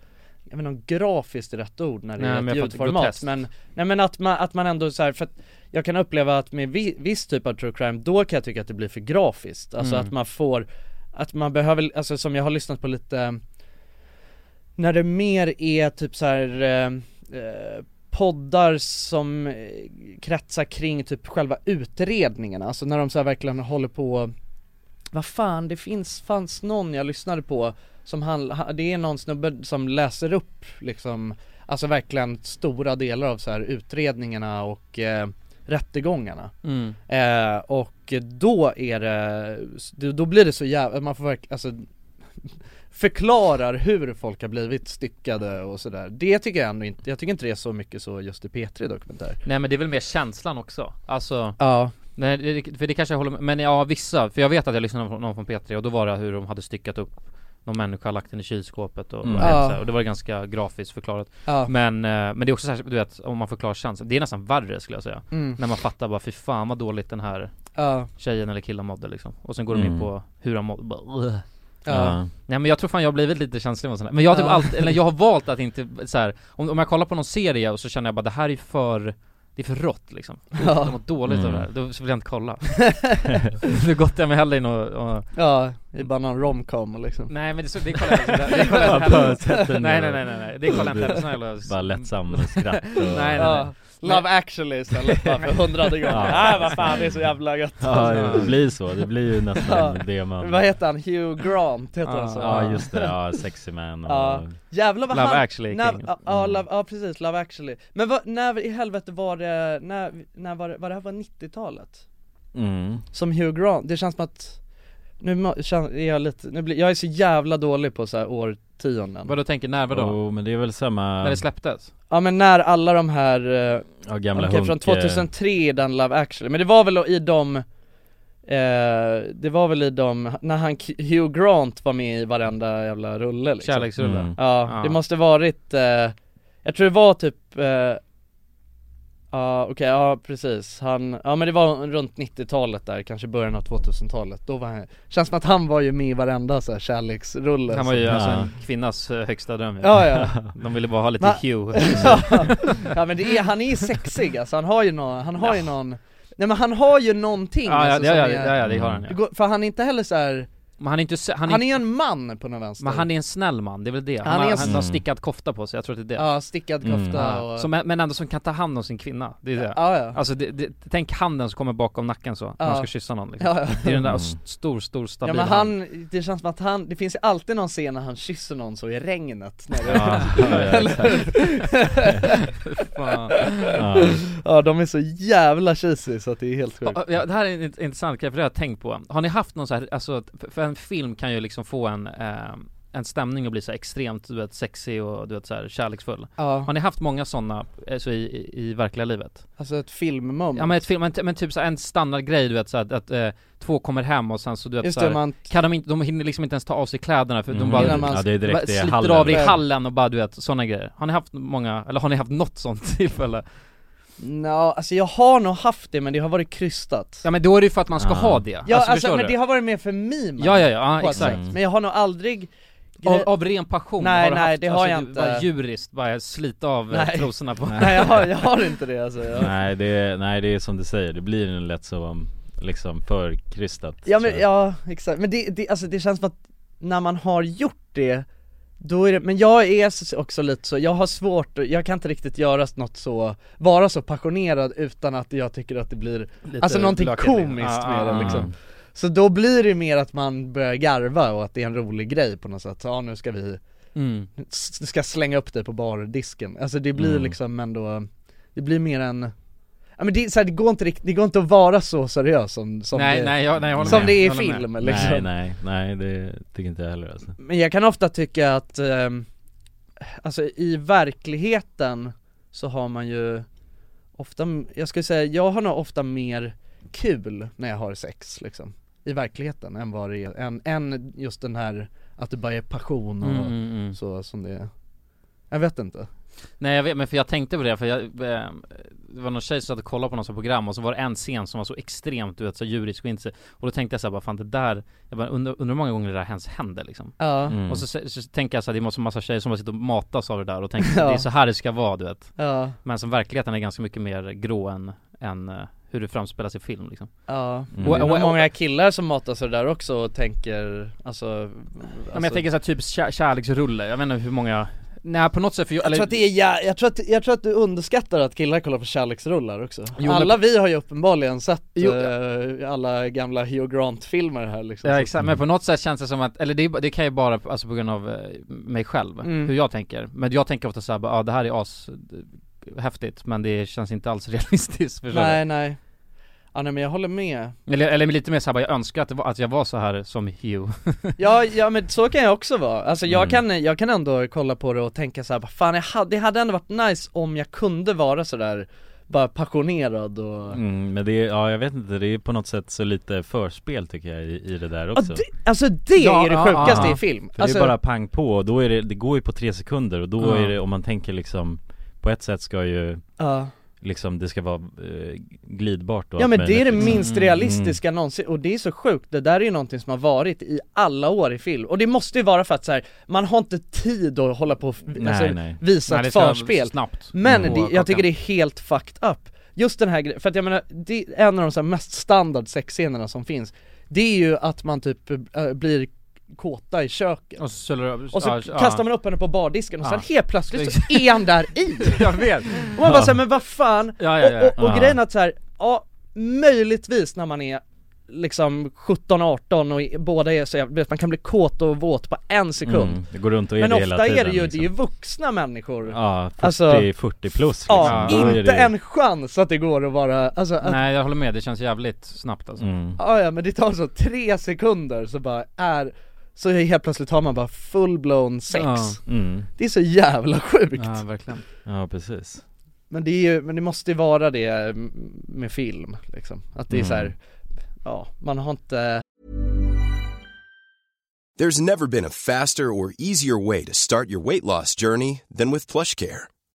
Speaker 1: Jag vet inte om grafiskt är rätt ord när det
Speaker 2: Nej,
Speaker 1: är
Speaker 2: men
Speaker 1: ett
Speaker 2: jag fattar,
Speaker 1: ljudformat
Speaker 2: groteskt.
Speaker 1: men Nej men att man, att man ändå så här, för att jag kan uppleva att med vi, viss typ av true crime, då kan jag tycka att det blir för grafiskt Alltså
Speaker 2: Mm.
Speaker 1: att man får, att man behöver, alltså som jag har lyssnat på lite När det mer är typ så här eh, eh, poddar som eh, kretsar kring typ själva utredningarna, alltså när de så här verkligen håller på Vad fan, det finns, fanns någon jag lyssnade på som han, ha- det är någon snubbe som läser upp liksom Alltså verkligen stora delar av så här utredningarna och eh, rättegångarna
Speaker 2: mm.
Speaker 1: Eh, och då är det, då- då blir det så jävla, man får verkligen, alltså Förklarar hur folk har blivit styckade och sådär Det tycker jag ändå inte, jag tycker inte det är så mycket så just i P3 dokumentär
Speaker 2: Nej men det är väl mer känslan också, alltså
Speaker 1: Ja,
Speaker 2: Nej, det- för det kanske jag håller med men ja vissa, för jag vet att jag lyssnade på någon från P3 och då var det hur de hade styckat upp någon människa, lagt den i kylskåpet och,
Speaker 3: Mm.
Speaker 2: och, så här,
Speaker 1: Ja.
Speaker 2: och det var ganska grafiskt förklarat
Speaker 1: ja,
Speaker 2: Men, eh, men det är också särskilt, du vet, om man förklarar känslan, det är nästan värre skulle jag säga
Speaker 1: mm,
Speaker 2: När man fattar bara fy fan vad dåligt den här
Speaker 1: ja,
Speaker 2: tjejen eller killen mådde liksom Och sen går de
Speaker 3: Mm.
Speaker 2: in på hur han mådde, bara, "Ugh."
Speaker 1: ja,
Speaker 3: ja.
Speaker 2: Nej men jag tror fan jag har blivit lite känslig mot sånt här. Men jag har typ
Speaker 1: Ja.
Speaker 2: alltid, eller jag har valt att inte så här. Om, om jag kollar på någon serie och så känner jag bara det här är för det är för rått liksom, de
Speaker 1: ja,
Speaker 2: mår dåligt av
Speaker 3: Mm.
Speaker 2: det här, då så vill jag inte kolla Nu gottar jag mig hellre i något, och...
Speaker 1: ja, det är bara någon romcom liksom
Speaker 2: Nej men det, så- det kollar jag inte, det kollar jag
Speaker 3: Bara
Speaker 2: inte heller
Speaker 3: sätt den
Speaker 2: Nej
Speaker 3: ner
Speaker 2: nej
Speaker 3: och
Speaker 2: nej nej, nej. det kollar jag inte heller, sån här jävla-
Speaker 3: Bara lättsam skratt och...
Speaker 2: Nej, nej, nej.
Speaker 1: ja, Love actually istället bara för hundrade gången,
Speaker 3: Ja.
Speaker 1: ah, vad fan det är så jävla gött
Speaker 3: Ja det blir så, det blir ju nästan
Speaker 1: Ja.
Speaker 3: det man
Speaker 1: Vad heter han? Hugh Grant heter han
Speaker 2: Ja,
Speaker 1: så?
Speaker 3: Ja just det, ja sexy man och...
Speaker 1: Ja. Jävlar vad
Speaker 2: Love
Speaker 1: han,
Speaker 2: actually
Speaker 1: när,
Speaker 2: kingen.
Speaker 1: ja, ja,
Speaker 3: Mm.
Speaker 1: love, ja precis, Love actually Men vad, när i helvete var det, när, när var det, var det här var 90-talet?
Speaker 3: Mm.
Speaker 1: Som Hugh Grant, det känns som att Nu må- kän- är jag lite, nu blir, jag är så jävla dålig på så här årtionden
Speaker 2: Vad du tänker, när vadå?
Speaker 3: Jo men det är väl samma,
Speaker 2: När det släpptes?
Speaker 1: Ja men när alla de här, eh,
Speaker 3: ja, gamla eh,
Speaker 1: okej
Speaker 3: okay,
Speaker 1: från 2003 är den Love actually, men det var väl i de Eh, det var väl i de, när han, Hugh Grant var med i varenda jävla rulle liksom.
Speaker 2: Kärleksrullen?
Speaker 3: Mm.
Speaker 1: Ja,
Speaker 2: Ja.
Speaker 1: det måste varit, eh, jag tror det var typ eh, Ja okej, ja precis, han, ja men det var runt 90-talet där, kanske början av 2000-talet, då var han, känns som att han var ju med i varenda så här kärleksrulle
Speaker 2: Han var ju
Speaker 3: Ja.
Speaker 2: alltså en kvinnas eh, högsta dröm ju.
Speaker 1: Ja ja,
Speaker 2: De ville bara ha lite
Speaker 1: Va?
Speaker 2: hue
Speaker 1: ja men det är, han är ju sexig alltså, han har ju någon, han har ju någon, nej men han har ju någonting
Speaker 2: Ja ja,
Speaker 1: alltså,
Speaker 2: det- ja,
Speaker 1: som
Speaker 2: ja,
Speaker 1: är,
Speaker 2: ja, ja det har han
Speaker 1: det
Speaker 2: ja.
Speaker 1: går- För han är inte heller så här.
Speaker 2: Men han är inte, sö- han
Speaker 1: han,
Speaker 2: är,
Speaker 1: är ju en man på någon vänster
Speaker 2: men han är en snäll man, det är väl det? Han,
Speaker 1: Han är
Speaker 2: har,
Speaker 1: en
Speaker 2: han
Speaker 3: snäll-
Speaker 2: har stickat kofta på sig, jag tror att det är det
Speaker 1: Ja, stickad
Speaker 3: Mm.
Speaker 1: kofta
Speaker 2: Ja.
Speaker 1: och
Speaker 2: som, är- Men ändå som kan ta hand om sin kvinna, det är det
Speaker 1: Ja ja,
Speaker 2: Alltså det, det, tänk handen som kommer bakom nacken så, när
Speaker 1: Ja.
Speaker 2: man ska kyssa någon liksom.
Speaker 1: ja, ja.
Speaker 2: Det är den där
Speaker 3: Mm.
Speaker 2: s- stor, stor, stabil
Speaker 1: Ja men
Speaker 2: hand.
Speaker 1: han, det känns som att han, det finns ju alltid någon scen när han kysser någon så i regnet när det
Speaker 3: Ja, ja, exakt.
Speaker 2: Fan.
Speaker 3: ja.
Speaker 1: ja de är så jävla cheesy så att det är helt sjukt
Speaker 2: Ja, det här är en int- intressant grej, för det har jag tänkt på. Har ni haft någon så här, alltså, för- för en film kan ju liksom få en, eh, en stämning att bli så här extremt du vet, sexig och du vet, så här, kärleksfull.
Speaker 1: Ja,
Speaker 2: Har ni haft många sådana så i, i, i verkliga livet?
Speaker 1: alltså ett filmmoment
Speaker 2: Ja men ett film, men, men typ så här, en standardgrej du vet så här, att, att eh, två kommer hem och sen så du vet Mm.
Speaker 1: Just
Speaker 2: så här,
Speaker 1: det, man
Speaker 2: kan de inte, de hinner liksom inte ens ta av sig kläderna för de
Speaker 3: Mhm.
Speaker 2: bara
Speaker 1: Innan man
Speaker 3: Ja det är direkt i
Speaker 2: sliter
Speaker 3: hallen
Speaker 2: av det i
Speaker 1: Ja.
Speaker 2: hallen och bara du vet, sådana grejer. Har ni haft många, eller har ni haft något sånt tillfälle?
Speaker 1: Nja, alltså jag har nog haft det men det har varit krystat
Speaker 2: Ja men då är det ju för att man ska
Speaker 3: Ah.
Speaker 2: ha det,
Speaker 1: Ja alltså,
Speaker 2: förstår
Speaker 1: men
Speaker 2: du?
Speaker 1: det har varit mer för mimande
Speaker 2: Ja ja ja,
Speaker 1: på
Speaker 2: ah,
Speaker 1: ett
Speaker 2: exakt
Speaker 3: Mm.
Speaker 1: sätt. Men jag har nog aldrig
Speaker 2: av,
Speaker 1: gre-
Speaker 2: av ren passion
Speaker 1: Nej,
Speaker 2: har du
Speaker 1: nej,
Speaker 2: haft, Alltså,
Speaker 1: det har jag
Speaker 2: du-
Speaker 1: inte.
Speaker 2: Bara djuriskt, bara slita av eh,
Speaker 1: Nej.
Speaker 2: trosorna på
Speaker 1: Nej jag har, jag har inte det alltså jag...
Speaker 3: Nej det, är- nej det är som du säger, det blir en lätt så um, liksom förkrystat
Speaker 1: Ja
Speaker 3: tror
Speaker 1: men
Speaker 3: jag.
Speaker 1: ja, exakt, men det, det, alltså, det känns som att när man har gjort det, då är det, men jag är s- också lite så, jag har svårt, att- jag kan inte riktigt göra något så, vara så passionerad utan att jag tycker att det blir, alltså någonting
Speaker 2: lökigt.
Speaker 1: komiskt
Speaker 3: Ah,
Speaker 2: Ja,
Speaker 1: med
Speaker 2: ja,
Speaker 1: det
Speaker 2: ja.
Speaker 1: liksom
Speaker 3: Mm.
Speaker 1: Så då blir det mer att man börjar garva och att det är en rolig grej på något sätt, så, ja nu ska vi,
Speaker 2: mm.
Speaker 1: s- ska slänga upp dig på bardisken, alltså det blir
Speaker 3: Mm.
Speaker 1: liksom ändå, det blir mer en Ja men det, är så här, det går inte riktigt, det går inte att vara så seriös som, som
Speaker 2: nej,
Speaker 1: det,
Speaker 2: nej, jag, nej jag håller
Speaker 1: som
Speaker 2: med.
Speaker 1: det är i
Speaker 2: Jag håller med.
Speaker 1: film liksom
Speaker 3: Nej nej, nej det tycker inte jag heller alltså.
Speaker 1: Men jag kan ofta tycka att, ehm, alltså i verkligheten så har man ju ofta, jag skulle säga, jag har nog ofta mer kul när jag har sex liksom I verkligheten än vad det är, än, än just den här att det bara är passion och
Speaker 2: Mm, mm, mm.
Speaker 1: så som det är Jag vet inte
Speaker 2: Nej jag vet, men för jag tänkte på det, för jag, eh, det var någon tjej som satt och kollade på något sånt program och så var det en scen som var så extremt du vet, så djurisk och inte så- Och då tänkte jag såhär bara fan det där, jag bara undrar, undrar hur många gånger det där ens händer liksom
Speaker 1: Ja,
Speaker 3: Mm.
Speaker 2: Och så, så, så tänker jag såhär, det måste vara massa tjejer som har suttit och matas av det där och tänkt att
Speaker 1: Ja.
Speaker 2: det är så här det ska vara du vet
Speaker 1: ja,
Speaker 2: Men som verkligheten är ganska mycket mer grå än, än eh, hur det framspelas i film liksom
Speaker 1: ja
Speaker 3: Mm.
Speaker 1: Och,
Speaker 2: Och- och-
Speaker 1: många killar som matar sig där också och tänker, alltså,
Speaker 2: Ja, men jag tänker såhär typ kär, kärleksrulle, jag vet inte hur många Nej på något sätt för jag,
Speaker 1: Jag tror, att det är, ja, jag, tror att, jag tror att du underskattar att killar kollar på kärleksrullar också
Speaker 2: Jo, men-
Speaker 1: Alla vi har ju uppenbarligen sett
Speaker 2: Jo.
Speaker 1: eh, alla gamla Hugh Grant-filmer här liksom
Speaker 2: Ja
Speaker 1: Så-
Speaker 2: exakt, men på något sätt känns det som att, eller det, är ba- det kan ju bara alltså, på grund av eh, mig själv,
Speaker 1: Mm.
Speaker 2: hur jag tänker Men jag tänker ofta såhär, bara, ja det här är as häftigt men det känns inte alls realistiskt förstår
Speaker 1: Nej nej Ja nej men jag håller med
Speaker 2: du? Eller, eller lite mer såhär, bara, jag önskar att, det var, att jag var så här som Hugh
Speaker 1: Ja, ja men så kan jag också vara, alltså jag,
Speaker 3: Mm.
Speaker 1: kan, jag kan ändå kolla på det och tänka så här, bara, fan jag hade, det hade ändå varit nice om jag kunde vara sådär bara passionerad och
Speaker 3: Mm, men det är, ja jag vet inte, det är på något sätt så lite förspel tycker jag i, i det där
Speaker 1: Ja,
Speaker 3: också
Speaker 1: det, Alltså det
Speaker 2: Ja,
Speaker 1: är det
Speaker 2: ja,
Speaker 1: sjukaste
Speaker 2: ja.
Speaker 1: i film,
Speaker 3: För
Speaker 1: alltså,
Speaker 3: det är bara pang på och då är det, det går ju på tre sekunder och då
Speaker 2: Ja.
Speaker 3: är det, om man tänker liksom På ett sätt ska ju
Speaker 1: ja.
Speaker 3: liksom, det ska vara eh, glidbart och
Speaker 1: Ja
Speaker 3: allt
Speaker 1: men det är det
Speaker 3: möjligt, liksom.
Speaker 1: minst realistiska någonsin och det är så sjukt, det där är ju någonting som har varit i alla år i film och det måste ju vara för att så här, man har inte tid att hålla på och
Speaker 3: Nej,
Speaker 1: alltså,
Speaker 3: nej.
Speaker 1: visa
Speaker 2: det
Speaker 1: ett
Speaker 2: ska
Speaker 1: förspel
Speaker 2: snabbt
Speaker 1: Men
Speaker 2: på
Speaker 1: det,
Speaker 2: klockan.
Speaker 1: jag tycker det är helt fucked up Just den här grejen, för att jag menar, det är en av de så här mest standard sexscenerna som finns Det är ju att man typ äh, blir kåta i köket
Speaker 2: Och så, säljer-
Speaker 1: och så
Speaker 2: ja, ja.
Speaker 1: kastar man upp henne på bardisken och sen
Speaker 2: Ja.
Speaker 1: helt plötsligt så är han där i!
Speaker 2: Jag vet!
Speaker 1: Och man bara såhär, men vad fan,
Speaker 2: Ja, ja, ja.
Speaker 1: och, och, och
Speaker 3: Ja.
Speaker 1: grejen är att så här, ja, möjligtvis när man är liksom 17-18 och i- båda är så jävla, vet, man kan bli kåt och våt på en sekund
Speaker 3: Mm, det går runt och är
Speaker 1: Men
Speaker 3: det
Speaker 1: ofta
Speaker 3: hela tiden,
Speaker 1: är det ju,
Speaker 3: liksom.
Speaker 1: det är ju vuxna människor Ja,
Speaker 3: Ja, 40,
Speaker 1: Alltså-
Speaker 3: 40 plus liksom.
Speaker 2: Ja,
Speaker 3: Då är
Speaker 1: inte
Speaker 3: det-
Speaker 1: en chans att det går att vara, alltså att, "Ah,
Speaker 2: Nej jag håller med, det känns jävligt snabbt alltså
Speaker 3: mm.
Speaker 1: ja, ja men det tar så tre sekunder så bara är, så helt plötsligt har man bara full-blown sex
Speaker 2: Ja.
Speaker 3: Mm.
Speaker 1: Det är så jävla sjukt!
Speaker 2: Ja verkligen
Speaker 3: Ja precis
Speaker 1: Men det är ju, men det måste ju vara det mm, med film liksom, att det är
Speaker 3: Mm.
Speaker 1: så här, ja, man har inte
Speaker 10: There's never been a faster or easier way to start your weight loss journey than with PlushCare.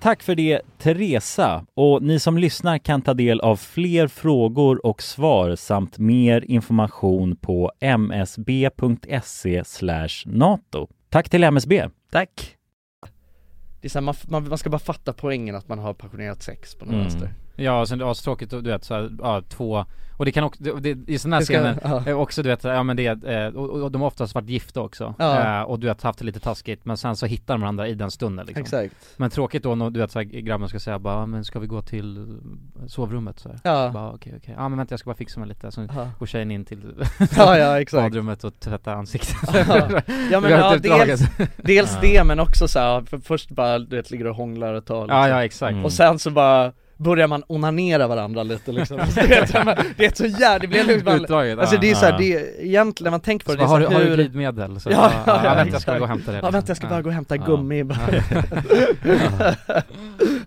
Speaker 3: Tack för det Teresa och ni som lyssnar kan ta del av fler frågor och svar samt mer information på msb.se e NATO. Tack till MSB.
Speaker 1: Tack. Det är så här, man, f- man, man ska bara fatta poängen att man har passionerat sex på något
Speaker 2: Mm.
Speaker 1: vänster
Speaker 2: Ja, och sen det var så tråkigt och du vet så här, ja, två Och det kan också, det, det, i sådana här
Speaker 1: Det ska-
Speaker 2: scener,
Speaker 1: ja.
Speaker 2: eh, också du vet, ja men det, är, eh, och, och de har oftast varit gifta också
Speaker 1: Ja.
Speaker 2: Eh, Och du vet haft det lite taskigt, men sen så hittar de varandra i den stunden liksom
Speaker 1: Exakt.
Speaker 2: Men tråkigt då när du vet så här, grabben ska säga bara, "Ah, men ska vi gå till eh, sovrummet så här?
Speaker 1: Ja.
Speaker 2: Bara, okej okej, ja men vänta jag ska bara fixa mig lite, så
Speaker 1: Ja.
Speaker 2: går tjejen in till
Speaker 1: Ja, ja, exakt.
Speaker 2: badrummet och tvättar ansiktet
Speaker 1: Ja, ja men
Speaker 2: Vi har
Speaker 1: ja,
Speaker 2: ett utdrag,
Speaker 1: dels,
Speaker 2: alltså.
Speaker 1: dels
Speaker 2: Ja.
Speaker 1: det men också så här, för först bara du vet ligger och hånglar ett tag liksom.
Speaker 2: Ja, ja, exakt. Mm.
Speaker 1: Och sen så bara börjar man onanera varandra lite liksom Du vet, man- Det är så jävla, det blir liksom
Speaker 2: Utdraget,
Speaker 1: Alltså
Speaker 2: ja.
Speaker 1: det är så här,
Speaker 2: Ja.
Speaker 1: det är, egentligen när man tänker på det,
Speaker 2: typ. Så
Speaker 1: det är
Speaker 2: har
Speaker 1: så
Speaker 2: du- har
Speaker 1: hur...
Speaker 2: du glidmedel? Så-
Speaker 1: ja,
Speaker 2: ja,
Speaker 1: ja,
Speaker 2: ja,
Speaker 1: ja,
Speaker 2: vänta, jag ska
Speaker 1: exakt.
Speaker 2: gå och hämta det
Speaker 1: Ja
Speaker 2: liksom.
Speaker 1: vänta jag ska
Speaker 2: Ja.
Speaker 1: bara gå och hämta
Speaker 2: Ja.
Speaker 1: gummi bara.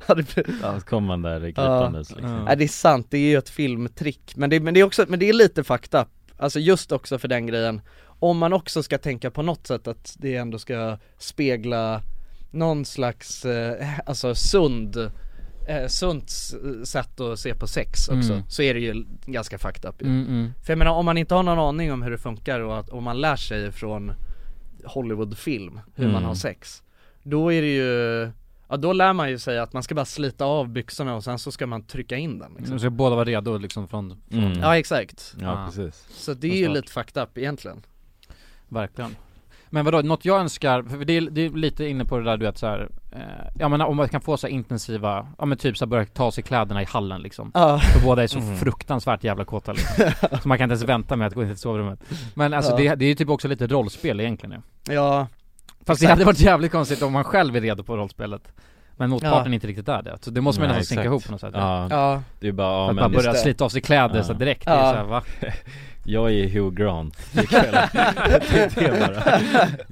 Speaker 1: Ja, det blir-
Speaker 11: Ja, så kommer man där gripandes liksom.
Speaker 1: Nej det är sant, det är ju ett filmtrick men det, men det är också, men det är lite fucked up Alltså just också för den grejen Om man också ska tänka på något sätt att det ändå ska spegla någon slags, eh, alltså sund Eh, sunt s- sätt att se på sex också,
Speaker 2: Mm.
Speaker 1: så är det ju ganska fucked up ju.
Speaker 2: Mm, mm.
Speaker 1: För jag menar om man inte har någon aning om hur det funkar och att, om man lär sig från Hollywoodfilm hur man
Speaker 2: Mm.
Speaker 1: har sex Då är det ju, ja då lär man ju sig att man ska bara slita av byxorna och sen så ska man trycka in den liksom.
Speaker 2: Så ska båda vara redo liksom från, från
Speaker 3: Mm.
Speaker 1: Ja exakt
Speaker 2: Ja, precis.
Speaker 1: Så det är
Speaker 2: Och
Speaker 1: ju
Speaker 2: snart.
Speaker 1: lite fucked up egentligen
Speaker 2: Verkligen Men vadå, något jag önskar, för det är, det är lite inne på det där du vet såhär, eh, ja men om man kan få så här intensiva, ja men typ så här, börja ta av sig kläderna i hallen liksom.
Speaker 1: Ja.
Speaker 2: För båda är så
Speaker 1: Mm.
Speaker 2: fruktansvärt jävla kåta liksom. Så man kan inte ens vänta med att gå in till sovrummet. Men alltså
Speaker 1: Ja.
Speaker 2: det, det är ju typ också lite rollspel egentligen ju.
Speaker 1: Ja.
Speaker 2: Fast det hade varit jävligt konstigt om man själv är redo på rollspelet. Men motparten
Speaker 1: Ja.
Speaker 2: inte riktigt är det. Så det måste man
Speaker 3: Nej,
Speaker 2: nästan synka
Speaker 3: exakt.
Speaker 2: ihop på något sätt.
Speaker 3: Ja,
Speaker 1: Ja.
Speaker 3: det är bara, ja,
Speaker 2: För att
Speaker 3: men
Speaker 2: man
Speaker 3: just
Speaker 2: börjar
Speaker 3: det.
Speaker 2: slita av sig kläder så direkt, det är
Speaker 3: Ja.
Speaker 2: så här, va?
Speaker 3: Jag är Hugh Grant ikväll. det är det bara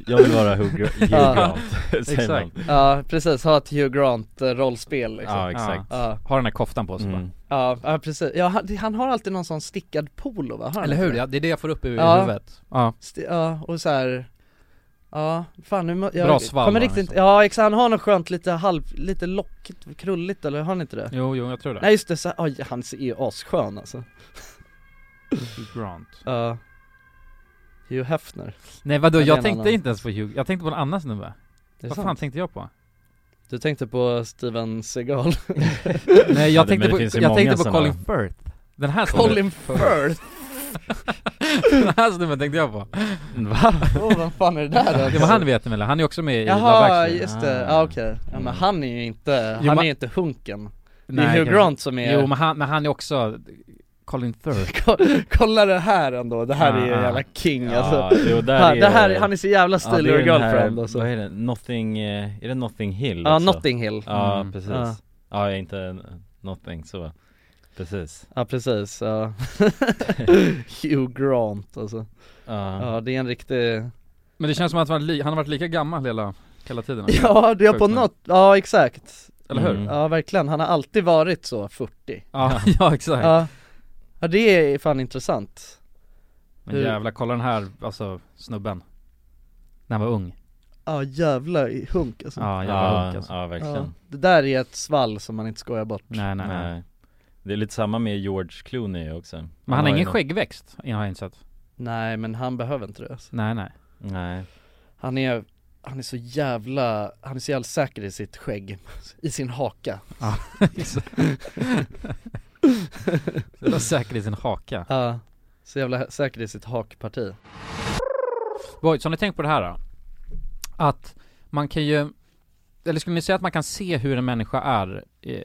Speaker 3: Jag vill vara Hugh, Gra- Hugh Grant, säger man
Speaker 1: Ja, precis, ha ett Hugh Grant eh, rollspel liksom.
Speaker 3: Ja, exakt.
Speaker 1: Ja.
Speaker 2: Har den här koftan på sig bara.
Speaker 1: Ja, ja precis. Ja, han, han har alltid någon sån stickad polo va? Har han
Speaker 2: Eller
Speaker 1: inte
Speaker 2: hur? Ja, det är det jag får upp i
Speaker 1: Ja.
Speaker 2: huvudet. Ja.
Speaker 1: Sti- ja, och så här. Ja, fan nu må- jag
Speaker 2: Bra svalg
Speaker 1: kommer
Speaker 2: har
Speaker 1: riktigt inte,
Speaker 2: han
Speaker 1: Ja exakt, han har något skönt lite halv, lite lockigt, krulligt eller har han inte det?
Speaker 2: Jo, jo, jag tror det.
Speaker 1: Nej just det, så, oj, han ser ju asskön alltså
Speaker 2: Grant.
Speaker 1: Ja Hugh Hefner
Speaker 2: Nej vadå,
Speaker 1: Men det är
Speaker 2: jag
Speaker 1: en
Speaker 2: tänkte
Speaker 1: annan.
Speaker 2: inte ens på Hugh, jag tänkte på en annan snubbe.
Speaker 1: Det är
Speaker 2: Vad fan
Speaker 1: sant.
Speaker 2: tänkte jag på?
Speaker 1: Du tänkte på Steven Seagal
Speaker 2: Nej jag tänkte på, jag tänkte på Colin Firth. Den här snubben-
Speaker 1: Colin Firth!
Speaker 2: Den här snubben tänkte jag på.
Speaker 1: Va? Åh, vad fan är det där då?
Speaker 2: Det var Ah. han vet ni väl? Han är också med i Love
Speaker 1: Jaha,
Speaker 2: actually.
Speaker 1: just det, ja okej ja, men han är ju inte,
Speaker 2: Jo,
Speaker 1: han
Speaker 2: men-
Speaker 1: är ju inte hunken Det är
Speaker 2: Nej,
Speaker 1: Hugh
Speaker 2: kanske-
Speaker 1: Grant som är
Speaker 2: Jo men han, men han är också Colin Firth.
Speaker 1: Kolla det här ändå, det här är ju
Speaker 3: Ah.
Speaker 1: en jävla king
Speaker 3: Ja,
Speaker 1: alltså
Speaker 3: jo, där
Speaker 1: han,
Speaker 3: är
Speaker 1: det här,
Speaker 3: det-
Speaker 1: han är så jävla
Speaker 3: Ja,
Speaker 1: stilig
Speaker 3: det är
Speaker 1: och
Speaker 3: den här-
Speaker 1: girlfriend alltså
Speaker 3: Vad är det? Nothing, eh, är det Notting Hill?
Speaker 1: Ja,
Speaker 3: också?
Speaker 12: alltså.
Speaker 1: Notting Hill.
Speaker 3: Ja
Speaker 1: Mm.
Speaker 3: precis
Speaker 1: Ja.
Speaker 3: Ja, inte eh, Nothing så Precis
Speaker 1: Ja precis, ja Hugh Grant alltså
Speaker 3: Ja.
Speaker 1: Ja det är en riktig
Speaker 2: Men det känns som att han, var li- han har varit lika gammal hela, hela tiden.
Speaker 1: Ja det är på
Speaker 2: Sjukt nog.
Speaker 1: något, ja exakt
Speaker 2: Eller hur?
Speaker 1: Ja verkligen, han har alltid varit så 40
Speaker 2: Ja, ja, exakt.
Speaker 1: ja. ja det är fan intressant
Speaker 2: Men
Speaker 1: Hur-
Speaker 2: jävlar, kolla den här, alltså snubben. När han var ung.
Speaker 1: Ja jävla i hunk alltså
Speaker 2: Ja, jävla Ja, hunk, alltså. ja, verkligen.
Speaker 1: Det där är ett svall som man inte skojar bort
Speaker 2: Nej, nej, nej.
Speaker 3: Det är lite samma med George Clooney också Men
Speaker 2: Men han har ingen
Speaker 3: ju-
Speaker 2: skäggväxt, har jag insett.
Speaker 1: Nej men han behöver inte det alltså.
Speaker 2: Nej, nej.
Speaker 3: Nej
Speaker 1: Han är, han är så jävla, han är så jävla säker i sitt skägg, i sin haka
Speaker 2: Ja, exakt. Så jävla säker i sin haka
Speaker 1: Ja, så jävla säker i sitt hakparti
Speaker 2: Boys, har ni tänkt på det här då? Att man kan ju, eller skulle ni säga att man kan se hur en människa är eh,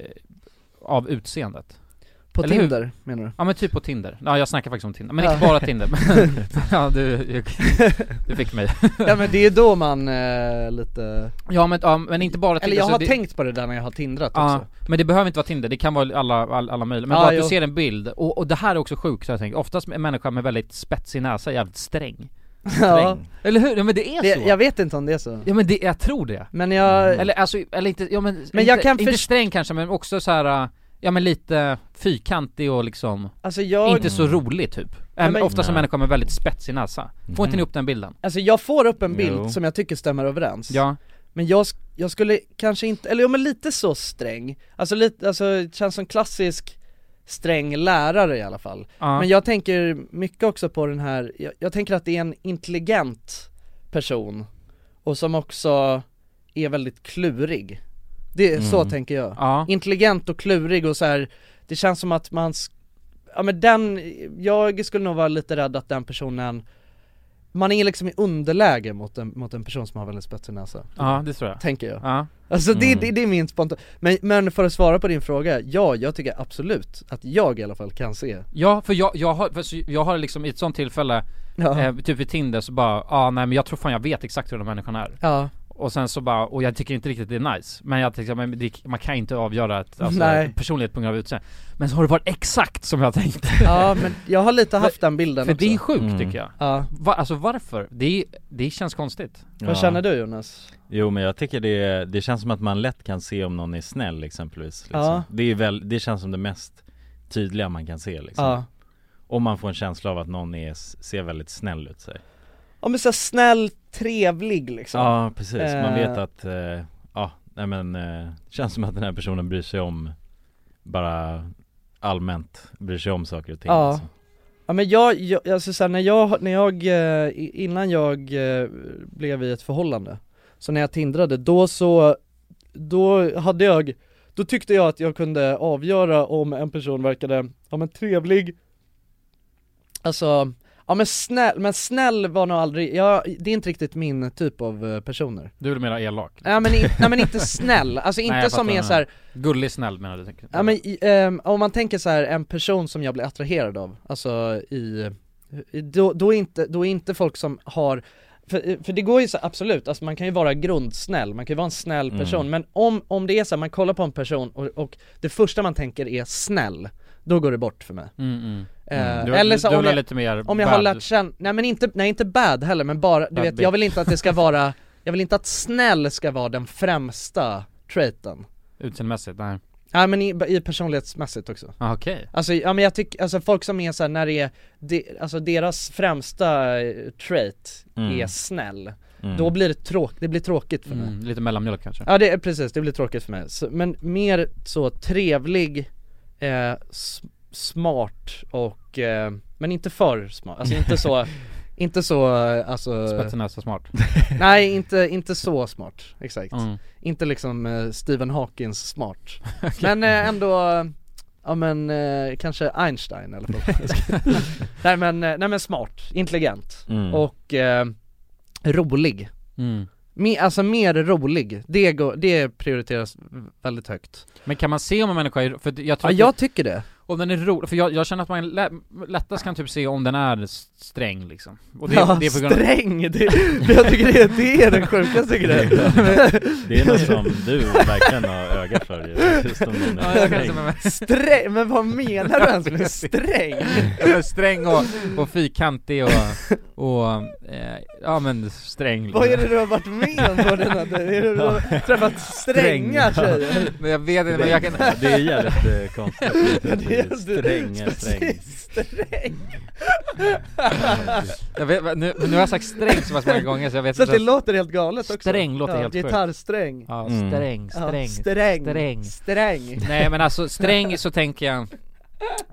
Speaker 2: av utseendet?
Speaker 1: På
Speaker 2: Eller hur?
Speaker 1: Tinder menar du?
Speaker 2: Ja men typ på Tinder, ja jag snackar faktiskt om Tinder, men
Speaker 1: Ja.
Speaker 2: inte bara Tinder men, Ja du, du fick mig
Speaker 1: Ja men det är då man eh, lite
Speaker 2: Ja men, ja, men inte bara
Speaker 1: Eller
Speaker 2: Tinder,
Speaker 1: jag
Speaker 2: så
Speaker 1: har
Speaker 2: det-
Speaker 1: tänkt på det där när jag har tindrat
Speaker 2: Ja,
Speaker 1: också
Speaker 2: men det behöver inte vara Tinder, det kan vara alla, alla, alla möjliga, men
Speaker 1: Ja,
Speaker 2: bara att
Speaker 1: jo.
Speaker 2: du ser en bild, och, och det här är också sjukt så jag tänker, oftast en människa med väldigt spetsig näsa är jävligt sträng
Speaker 1: Ja.
Speaker 2: Eller hur? Ja, men det är
Speaker 1: Det-
Speaker 2: så!
Speaker 1: Jag vet inte om det är så
Speaker 2: Ja men det, jag tror det
Speaker 1: Men jag...
Speaker 2: Eller alltså, eller inte, ja men, inte,
Speaker 1: Mm. jag kan
Speaker 2: inte
Speaker 1: först-
Speaker 2: sträng kanske men också så här. äh, ja men lite fyrkantig och liksom,
Speaker 1: Alltså jag-
Speaker 2: inte så rolig typ
Speaker 1: Nej,
Speaker 2: Äm,
Speaker 1: men-
Speaker 2: Ofta som
Speaker 1: Nej.
Speaker 2: människor med väldigt spetsig näsa, får inte ni upp den bilden?
Speaker 1: Alltså jag får upp en bild
Speaker 2: Jo.
Speaker 1: som jag tycker stämmer överens
Speaker 2: Ja.
Speaker 1: Men jag, sk- jag skulle kanske inte, eller jo men lite så sträng Alltså lite, alltså det känns som klassisk sträng lärare i alla fall
Speaker 2: Ja.
Speaker 1: Men jag tänker mycket också på den här, jag, jag tänker att det är en intelligent person Och som också är väldigt klurig Det, så
Speaker 2: Mm.
Speaker 1: tänker jag
Speaker 2: Ja.
Speaker 1: Intelligent och klurig och så här. det känns som att man sk- Ja men den, jag skulle nog vara lite rädd att den personen man är liksom i underläge mot en, mot en person som har väldigt spetsig näsa
Speaker 2: Ja, det tror jag.
Speaker 1: Tänker jag
Speaker 2: Ja.
Speaker 1: Alltså det,
Speaker 2: Mm.
Speaker 1: det, det är min spontana, men, men för att svara på din fråga, ja jag tycker absolut att jag i alla fall kan se
Speaker 2: Ja, för jag, jag, har, för så- jag har liksom i ett sånt tillfälle,
Speaker 1: Ja.
Speaker 2: eh, typ vid Tinder så bara, ah, nej men jag tror fan jag vet exakt hur den här människan är
Speaker 1: Ja.
Speaker 2: Och sen så bara, och jag tycker inte riktigt det är nice Men jag tänker, men det, man kan inte avgöra ett, alltså,
Speaker 1: Nej.
Speaker 2: personlighet på grund av utseende Men så har det varit exakt som jag tänkte
Speaker 1: Ja men jag har lite haft den bilden
Speaker 2: För
Speaker 1: också
Speaker 2: det är sjukt tycker jag
Speaker 1: Ja.
Speaker 2: Va, Alltså varför? Det, är- det känns konstigt
Speaker 1: Vad känner du Jonas?
Speaker 3: Jo men jag tycker det, det känns som att man lätt kan se om någon är snäll exempelvis liksom.
Speaker 1: Ja.
Speaker 3: det, är väl, det känns som det mest tydliga man kan se liksom.
Speaker 1: Ja.
Speaker 3: Om man får en känsla av att någon är, ser väldigt snäll ut sig.
Speaker 1: Ja men så här snäll, trevlig liksom
Speaker 3: Ja precis, man vet
Speaker 1: Eh,
Speaker 3: att, eh, ja nej men, eh, känns som att den här personen bryr sig om bara allmänt, bryr sig om saker och ting
Speaker 1: Ja.
Speaker 3: liksom.
Speaker 1: Ja men jag, jag alltså så här, när jag, när jag, eh, i- innan jag eh, blev i ett förhållande, så när jag tindrade, då så, då hade jag, då tyckte jag att jag kunde avgöra om en person verkade, ja men trevlig, alltså Ja men snäll, men snäll var nog aldrig, ja, det är inte riktigt min typ av eh, personer
Speaker 2: Du är väl mera elak?
Speaker 1: Nej men, in, nej, men inte snäll, alltså inte
Speaker 2: Nej, jag
Speaker 1: som
Speaker 2: fattar
Speaker 1: är
Speaker 2: den
Speaker 1: så här,
Speaker 2: Gullig snäll menar du? tänker jag.
Speaker 1: ja, men, i- ehm, om man tänker så här en person som jag blir attraherad av, alltså i, i- då, då, är inte, då är inte folk som har för, för det går ju så absolut, alltså man kan ju vara grundsnäll, man kan ju vara en snäll
Speaker 2: Mm.
Speaker 1: person Men om, om det är så här, man kollar på en person och, och det första man tänker är snäll, då går det bort för mig
Speaker 2: Mm, mm.
Speaker 1: Eh,
Speaker 2: Mm. Du-
Speaker 1: Eller så
Speaker 2: du
Speaker 1: om
Speaker 2: vill ha
Speaker 1: jag,
Speaker 2: lite mer
Speaker 1: om jag har
Speaker 2: bad.
Speaker 1: lärt känna, nej men inte, nej inte bad heller men bara, du
Speaker 2: Bad
Speaker 1: vet
Speaker 2: bitch.
Speaker 1: jag vill inte att det ska vara, jag vill inte att snäll ska vara den främsta traiten
Speaker 2: Utseendemässigt, nej
Speaker 1: Nej men i, i personlighetsmässigt också
Speaker 2: ah, Okej
Speaker 1: Alltså, ja men jag tycker, alltså folk som är såhär när det är, de, alltså deras främsta eh, trait
Speaker 2: Mm.
Speaker 1: är snäll
Speaker 2: Mm.
Speaker 1: Då blir det tråkigt, det blir tråkigt för mig
Speaker 2: Mm, Lite mellanmjölk kanske?
Speaker 1: Ja det, är- precis, det blir tråkigt för mig. Så, men mer så trevlig, eh, s- smart och, eh, men inte för smart, alltså inte så, inte så, eh, alltså
Speaker 2: Spetsig näsa smart
Speaker 1: Nej inte, inte så smart, exakt.
Speaker 2: Mm.
Speaker 1: Inte liksom eh, Stephen Hawkins smart. Men eh, ändå, eh, ja men eh, kanske Einstein eller något. nej, men, eh, nej men smart, intelligent
Speaker 2: Mm.
Speaker 1: och eh, rolig.
Speaker 2: Mm.
Speaker 1: Me, alltså mer rolig, det, går, det prioriteras väldigt högt.
Speaker 2: Men kan man se om en människa är för jag tror
Speaker 1: Ja
Speaker 2: att-
Speaker 1: jag tycker det.
Speaker 2: Om den är rolig, för jag, jag känner att man lä, lättast kan typ se om den är s- sträng liksom och
Speaker 1: ja, sträng, det, det, jag tycker det, det är den sjukaste grejen.
Speaker 3: Det är något som du verkligen har öga för ju, just om någon
Speaker 2: Ja, jag kan
Speaker 3: är
Speaker 2: se med-
Speaker 1: Sträng, men vad menar du ens med sträng?
Speaker 2: Ja, sträng och, och fyrkantig och, och eh, ja men sträng liksom.
Speaker 1: Vad är det du har varit med om på den här, är det du har träffat stränga tjejer?
Speaker 2: Men jag vet inte, men jag kan
Speaker 3: Det är jävligt eh, konstigt
Speaker 1: Ja, det är-
Speaker 3: Stränga, sträng
Speaker 1: Sträng.
Speaker 2: jag vet, nu, nu har jag sagt sträng så pass många gånger så jag vet
Speaker 1: Så att det
Speaker 2: inte
Speaker 1: låter helt galet också
Speaker 2: Sträng låter
Speaker 1: ja,
Speaker 2: helt sjukt.
Speaker 1: Gitarrsträng
Speaker 2: Ja, Mm. sträng,
Speaker 1: Ja,
Speaker 2: sträng,
Speaker 1: sträng,
Speaker 2: sträng.
Speaker 1: sträng
Speaker 2: Nej men alltså sträng så tänker jag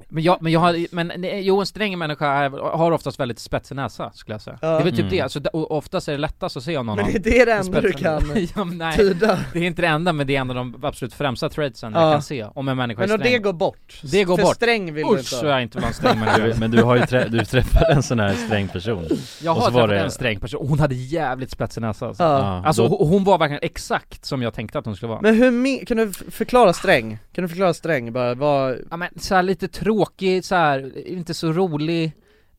Speaker 2: men jag, men jag har, men nej, jo en sträng människa är, har oftast väldigt spetsig näsa skulle jag säga
Speaker 1: Ja.
Speaker 2: Det är väl typ
Speaker 1: Mm.
Speaker 2: det, alltså, d- och oftast är det lättast att se om någon
Speaker 1: Men
Speaker 2: har
Speaker 1: det- det är det enda du
Speaker 2: spetsig näsa.
Speaker 1: kan
Speaker 2: ja, men nej,
Speaker 1: tyda.
Speaker 2: Det är inte det enda men det är en av de absolut främsta traitsen
Speaker 1: Ja.
Speaker 2: jag kan se om en människa
Speaker 1: Men
Speaker 2: är
Speaker 1: och
Speaker 2: sträng
Speaker 1: det går bort.
Speaker 2: Det går
Speaker 1: För
Speaker 2: bort
Speaker 1: sträng vill du
Speaker 2: Usch,
Speaker 1: inte ha.
Speaker 2: så jag inte vara en sträng människa
Speaker 3: Du- Men du har ju trä, du träffade en sån här sträng person
Speaker 2: Jag
Speaker 3: Och
Speaker 2: har
Speaker 3: så var
Speaker 2: träffat
Speaker 3: det-
Speaker 2: en sträng person, hon hade jävligt spetsig näsa alltså,
Speaker 1: Ja.
Speaker 2: alltså
Speaker 1: Ja, då-
Speaker 2: hon- hon var verkligen exakt som jag tänkte att hon skulle vara
Speaker 1: Men hur me- kan du f- förklara sträng? Kan du förklara sträng bara, vad...
Speaker 2: Ja men så här lite tråkig, så här, inte så rolig,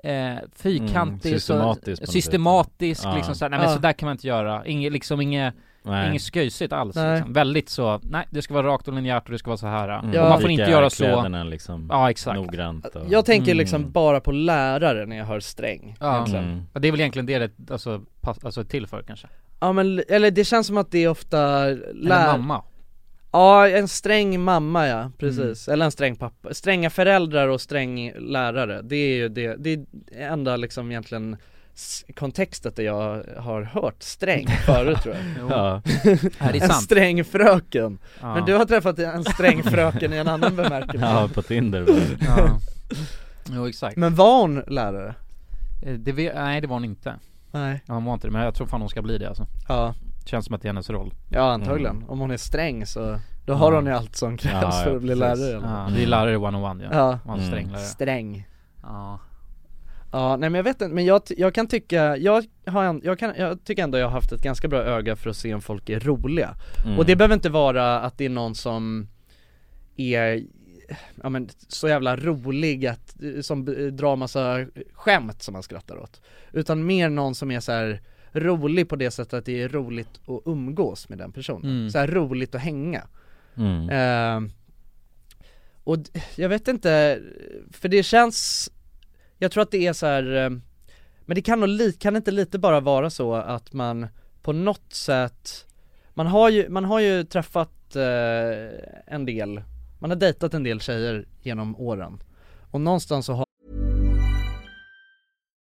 Speaker 2: eh, fyrkantig,
Speaker 3: Mm, systematisk på något
Speaker 2: så,
Speaker 3: sätt.
Speaker 2: systematisk
Speaker 3: Ja.
Speaker 2: liksom så här, nej men
Speaker 1: Ja.
Speaker 2: så där kan man inte göra, inget liksom inget
Speaker 3: Nej.
Speaker 2: Inget sköjsigt alls
Speaker 1: Nej.
Speaker 2: liksom. väldigt så, nej det ska vara rakt och linjärt och det ska vara så här.
Speaker 3: Mm.
Speaker 2: Och man får
Speaker 3: Vilka
Speaker 2: inte göra så
Speaker 3: kläderna liksom
Speaker 2: Ja exakt
Speaker 3: Noggrant och...
Speaker 1: Jag tänker
Speaker 2: Mm.
Speaker 1: liksom bara på lärare när jag hör sträng
Speaker 2: ja.
Speaker 3: Mm.
Speaker 1: egentligen.
Speaker 2: Ja, det är väl egentligen det det alltså, pass, alltså är till för kanske
Speaker 1: Ja men, eller det känns som att det är ofta lär...
Speaker 2: Eller mamma
Speaker 1: Ja, en sträng mamma ja, precis.
Speaker 2: Mm.
Speaker 1: Eller en sträng pappa. Stränga föräldrar och sträng lärare. Det är ju det, det är enda liksom egentligen s- kontextet där jag har hört sträng förut tror jag.
Speaker 2: Ja,
Speaker 3: Ja.
Speaker 2: det är
Speaker 1: en
Speaker 2: sant.
Speaker 1: sträng fröken.
Speaker 2: Ja.
Speaker 1: Men du har träffat en sträng fröken i en annan bemärkelse.
Speaker 3: Ja, på Tinder var det.
Speaker 2: Ja. Jo exakt
Speaker 1: Men var hon lärare?
Speaker 2: Eh, Det vet, nej det var hon inte
Speaker 1: Nej.
Speaker 2: Ja, hon var inte det, men jag tror fan hon ska bli det alltså
Speaker 1: Ja
Speaker 2: Känns som att det är hennes roll
Speaker 1: Ja antagligen. Om hon är sträng så, då har
Speaker 2: Mm. Ja.
Speaker 1: hon ju allt som krävs
Speaker 2: Ja, ja,
Speaker 1: för att bli
Speaker 2: precis.
Speaker 1: lärare. eller?
Speaker 2: Ja, det är lärare 101 ja,
Speaker 1: Ja.
Speaker 2: Man
Speaker 1: Mm.
Speaker 2: sträng lärare
Speaker 1: Sträng.
Speaker 2: Ja
Speaker 1: Ja, nej men jag vet inte, men jag, ty- jag kan tycka, jag, har en, jag, kan, jag tycker ändå jag har haft ett ganska bra öga för att se om folk är roliga
Speaker 2: Mm.
Speaker 1: Och det behöver inte vara att det är någon som är, ja men så jävla rolig att, som b- drar massa skämt som man skrattar åt Utan mer någon som är så här rolig på det sättet att det är roligt att umgås med den personen,
Speaker 2: Mm.
Speaker 1: så här roligt att hänga
Speaker 3: Mm.
Speaker 1: Eh, och d- jag vet inte, för det känns, jag tror att det är så här. eh, men det kan nog li- kan inte lite bara vara så att man på något sätt, man har ju, man har ju träffat eh, en del, man har dejtat en del tjejer genom åren och någonstans så har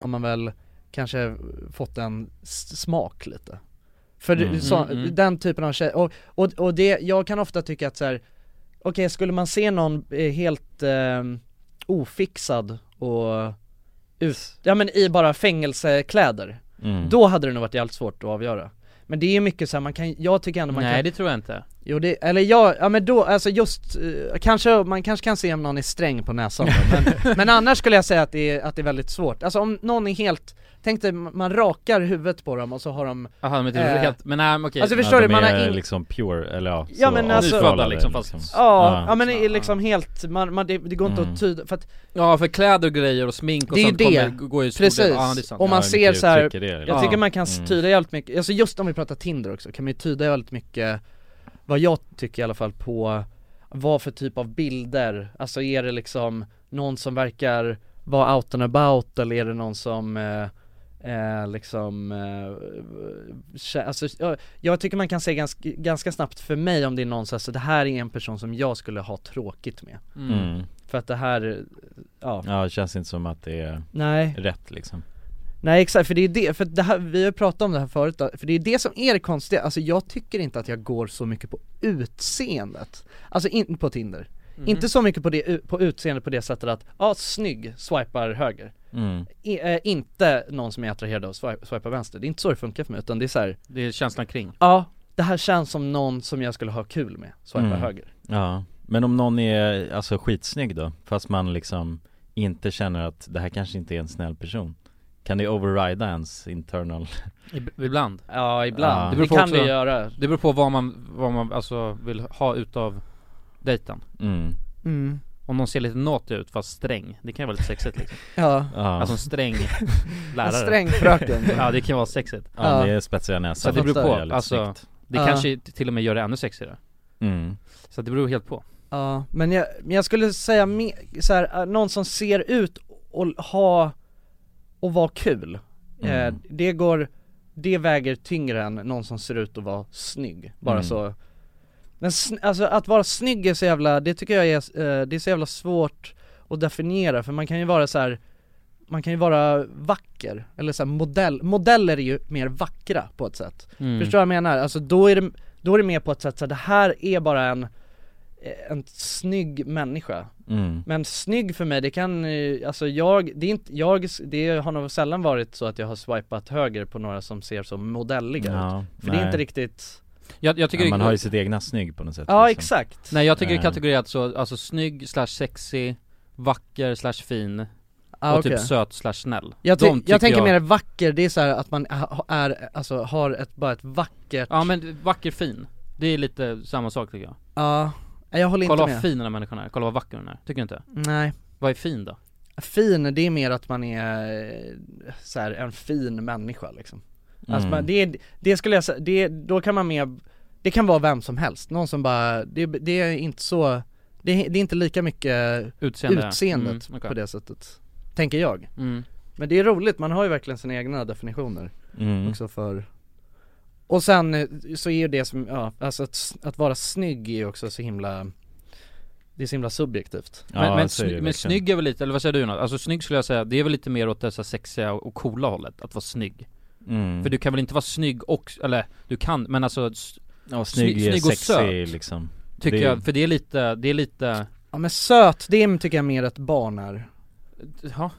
Speaker 1: har man väl kanske fått en s- smak lite För det-
Speaker 13: Mm.
Speaker 1: så,
Speaker 13: Mm, mm.
Speaker 1: den typen av tjejer, och, och, och det, jag kan ofta tycka att så här. okej skulle man se någon eh, helt eh, ofixad och ut, ja men i bara fängelsekläder,
Speaker 2: Mm.
Speaker 1: då hade det nog varit jävligt svårt att avgöra men det är ju mycket så här, man kan, jag tycker ändå man
Speaker 2: Nej
Speaker 1: kan
Speaker 2: det tror jag inte
Speaker 1: Jo det, eller jag, ja men då, alltså just, eh, kanske, man kanske kan se om någon är sträng på näsan då, men, men annars skulle jag säga att det, är, att det är väldigt svårt, alltså om någon är helt, tänk dig man rakar huvudet på dem och så har de
Speaker 2: Jaha men typ
Speaker 1: eh,
Speaker 2: helt, men nej men okej
Speaker 1: Alltså förstår du, man har
Speaker 3: är
Speaker 1: in,
Speaker 3: liksom pure, eller ja,
Speaker 1: Ja
Speaker 3: så liksom,
Speaker 1: men alltså,
Speaker 3: avskalade,
Speaker 1: ja, ja men är liksom helt, man, man, det, det går inte
Speaker 2: Mm.
Speaker 1: att tyda, för att
Speaker 2: Ja för kläder och grejer och smink och
Speaker 1: det är ju
Speaker 2: sånt
Speaker 1: det,
Speaker 2: Kommer, går ju stor del-
Speaker 1: precis,
Speaker 2: ja, det är sant.
Speaker 1: och man
Speaker 2: Ja,
Speaker 1: ser
Speaker 2: vilka
Speaker 1: så här,
Speaker 2: uttryck är det,
Speaker 1: jag
Speaker 2: liksom?
Speaker 1: tycker
Speaker 2: Ja.
Speaker 1: man kan tyda jävligt mycket, alltså just om vi pratar Tinder också, kan man ju tyda jävligt mycket vad jag tycker i alla fall på vad för typ av bilder, alltså är det liksom någon som verkar vara out and about eller är det någon som eh, eh, liksom, eh, kä- alltså, jag, jag tycker man kan se ganska, ganska snabbt för mig om det är någon så här, så det här är en person som jag skulle ha tråkigt med
Speaker 3: Mm.
Speaker 1: För att det här, ja
Speaker 3: Ja det känns inte som att det är
Speaker 1: Nej.
Speaker 3: rätt liksom
Speaker 1: Nej exakt, för det är det, för det här, vi har ju pratat om det här förut då, för det är det som är det konstiga, alltså jag tycker inte att jag går så mycket på utseendet Alltså inte på Tinder,
Speaker 13: Mhm.
Speaker 1: inte så mycket på, det, på utseendet på det sättet att, ja snygg, swipar höger
Speaker 3: Mm.
Speaker 1: I, eh, Inte någon som är attraherad av swipe, swipar vänster, det är inte så det funkar för mig utan det är så här,
Speaker 2: Det är känslan kring
Speaker 1: ja det här känns som någon som jag skulle ha kul med, swipar
Speaker 3: Mm.
Speaker 1: höger
Speaker 3: Ja, men om någon är alltså skitsnygg då, fast man liksom inte känner att det här kanske inte är en snäll person Kan det overrida ens internal?
Speaker 2: Ib- Ibland
Speaker 1: Ja ibland,
Speaker 3: Ja.
Speaker 1: det, kan det göra
Speaker 2: Det beror på vad man, vad man alltså vill ha utav dejten
Speaker 3: Mm.
Speaker 1: Mm.
Speaker 2: Om någon ser lite nåtig ut fast sträng, det kan ju vara lite sexigt liksom
Speaker 1: Ja.
Speaker 3: Ja.
Speaker 2: Alltså en sträng lärare
Speaker 1: En sträng fröken.
Speaker 2: Ja det kan vara sexigt
Speaker 3: Ja, Ja. det är spetsiga näsan.
Speaker 2: Så det beror
Speaker 3: Fattar.
Speaker 2: på,
Speaker 3: Det är lite
Speaker 2: alltså
Speaker 3: snyggt.
Speaker 2: Det
Speaker 1: Ja.
Speaker 2: kanske till och med gör det ännu sexigare
Speaker 3: Mm.
Speaker 2: Så det beror helt på
Speaker 1: Ja, men jag, men jag skulle säga me- så här, eh, någon som ser ut och l- ha och vara kul
Speaker 13: Mm.
Speaker 1: eh, Det går, det väger tyngre än någon som ser ut och vara snygg, bara
Speaker 13: Mm.
Speaker 1: så Men sn- alltså att vara snygg är så jävla, det tycker jag är, s- eh, det är så jävla svårt att definiera för man kan ju vara så här. Man kan ju vara vacker, eller så här, modell, modeller är ju mer vackra på ett sätt
Speaker 13: Mm.
Speaker 1: Förstår du vad jag menar? Alltså då är det, då är det mer på ett sätt så här, det här är bara en en snygg människa
Speaker 3: Mm.
Speaker 1: Men snygg för mig, det kan, eh, alltså jag, det är inte, jag, det har nog sällan varit så att jag har swipat höger på några som ser så modelliga
Speaker 3: Ja,
Speaker 1: ut För det är
Speaker 3: nej.
Speaker 1: inte riktigt
Speaker 2: Jag, jag tycker
Speaker 3: ja, Man
Speaker 2: det-
Speaker 3: har ju sitt egna snygg på något sätt
Speaker 1: Ja,
Speaker 3: liksom.
Speaker 1: exakt.
Speaker 2: Nej jag tycker det är
Speaker 3: Eh,
Speaker 2: kategorerat så, alltså snygg slash sexy, vacker slash fin
Speaker 1: Ah,
Speaker 2: och
Speaker 1: okej.
Speaker 2: typ söt slash snäll
Speaker 1: Jag, ty-
Speaker 2: De
Speaker 1: jag tänker mer vacker, det är så här att man ha- är, alltså har ett, bara ett vackert
Speaker 2: Ja men vacker fin, det är lite samma sak tycker jag
Speaker 1: Ja, Nej, jag håller
Speaker 2: Kolla
Speaker 1: inte med
Speaker 2: vad fin den här människan är, kolla vad vacker den är, tycker du inte?
Speaker 1: Nej
Speaker 2: Vad är fin då?
Speaker 1: Fin, det är mer att man är eh, så här, en fin människa liksom alltså,
Speaker 2: Mm.
Speaker 1: man, det, är- det skulle jag säga, det, då kan man mer, det kan vara vem som helst, någon som bara, det, det är inte så, det, är- det är inte lika mycket
Speaker 2: Utseende, ja.
Speaker 1: utseendet
Speaker 2: Mm, okej.
Speaker 1: på det sättet, tänker jag
Speaker 2: Mm.
Speaker 1: Men det är roligt, man har ju verkligen sina egna definitioner
Speaker 3: Mm.
Speaker 1: också för och sen eh, så är ju det som, ja, alltså att, s- att vara snygg är ju också så himla Det är så himla subjektivt
Speaker 2: men, men, sny- men snygg är väl lite, eller vad säger du Jonas? Alltså snygg skulle jag säga, det är väl lite mer åt det så här sexiga och coola hållet, att vara snygg
Speaker 3: Mm.
Speaker 2: För du kan väl inte vara snygg och, eller du kan, men alltså s-
Speaker 3: Ja, snygg,
Speaker 2: Sny- snygg och
Speaker 3: sexig
Speaker 2: söt.
Speaker 3: liksom.
Speaker 2: Tycker
Speaker 3: Det-
Speaker 2: jag, för det är lite, det är lite
Speaker 1: Ja men söt, dim tycker jag mer ett barn är
Speaker 2: Ja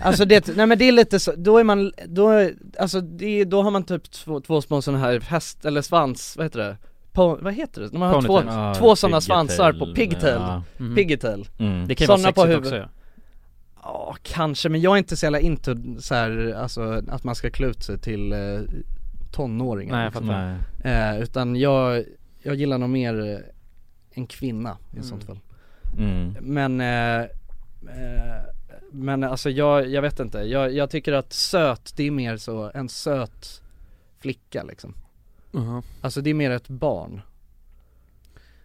Speaker 1: Alltså det, nej men det är lite så, då är man, då, är- alltså det, då har man typ två, två små sådana här häst, eller svans, vad heter det? Po, vad heter det? När man har två,
Speaker 2: Ponytail. Ja,
Speaker 1: två sådana
Speaker 2: pigtail,
Speaker 1: svansar på pigtail,
Speaker 2: ja. Mhm.
Speaker 1: pigtail
Speaker 2: Mm. Det kan ju vara
Speaker 1: Såna
Speaker 2: sexigt också, ja.
Speaker 1: Ja kanske, men jag är inte så jävla into så här, alltså att man ska klä ut sig till eh, tonåringar
Speaker 2: Nej, jag fattar.
Speaker 1: eh, Utan jag, jag gillar nog mer eh, en kvinna i
Speaker 2: Mm.
Speaker 1: sånt fall
Speaker 3: Mm.
Speaker 1: men, eh, eh, men alltså jag, jag vet inte, jag, jag tycker att söt, det är mer så, en söt flicka liksom
Speaker 2: Mhm.
Speaker 1: Alltså det är mer ett barn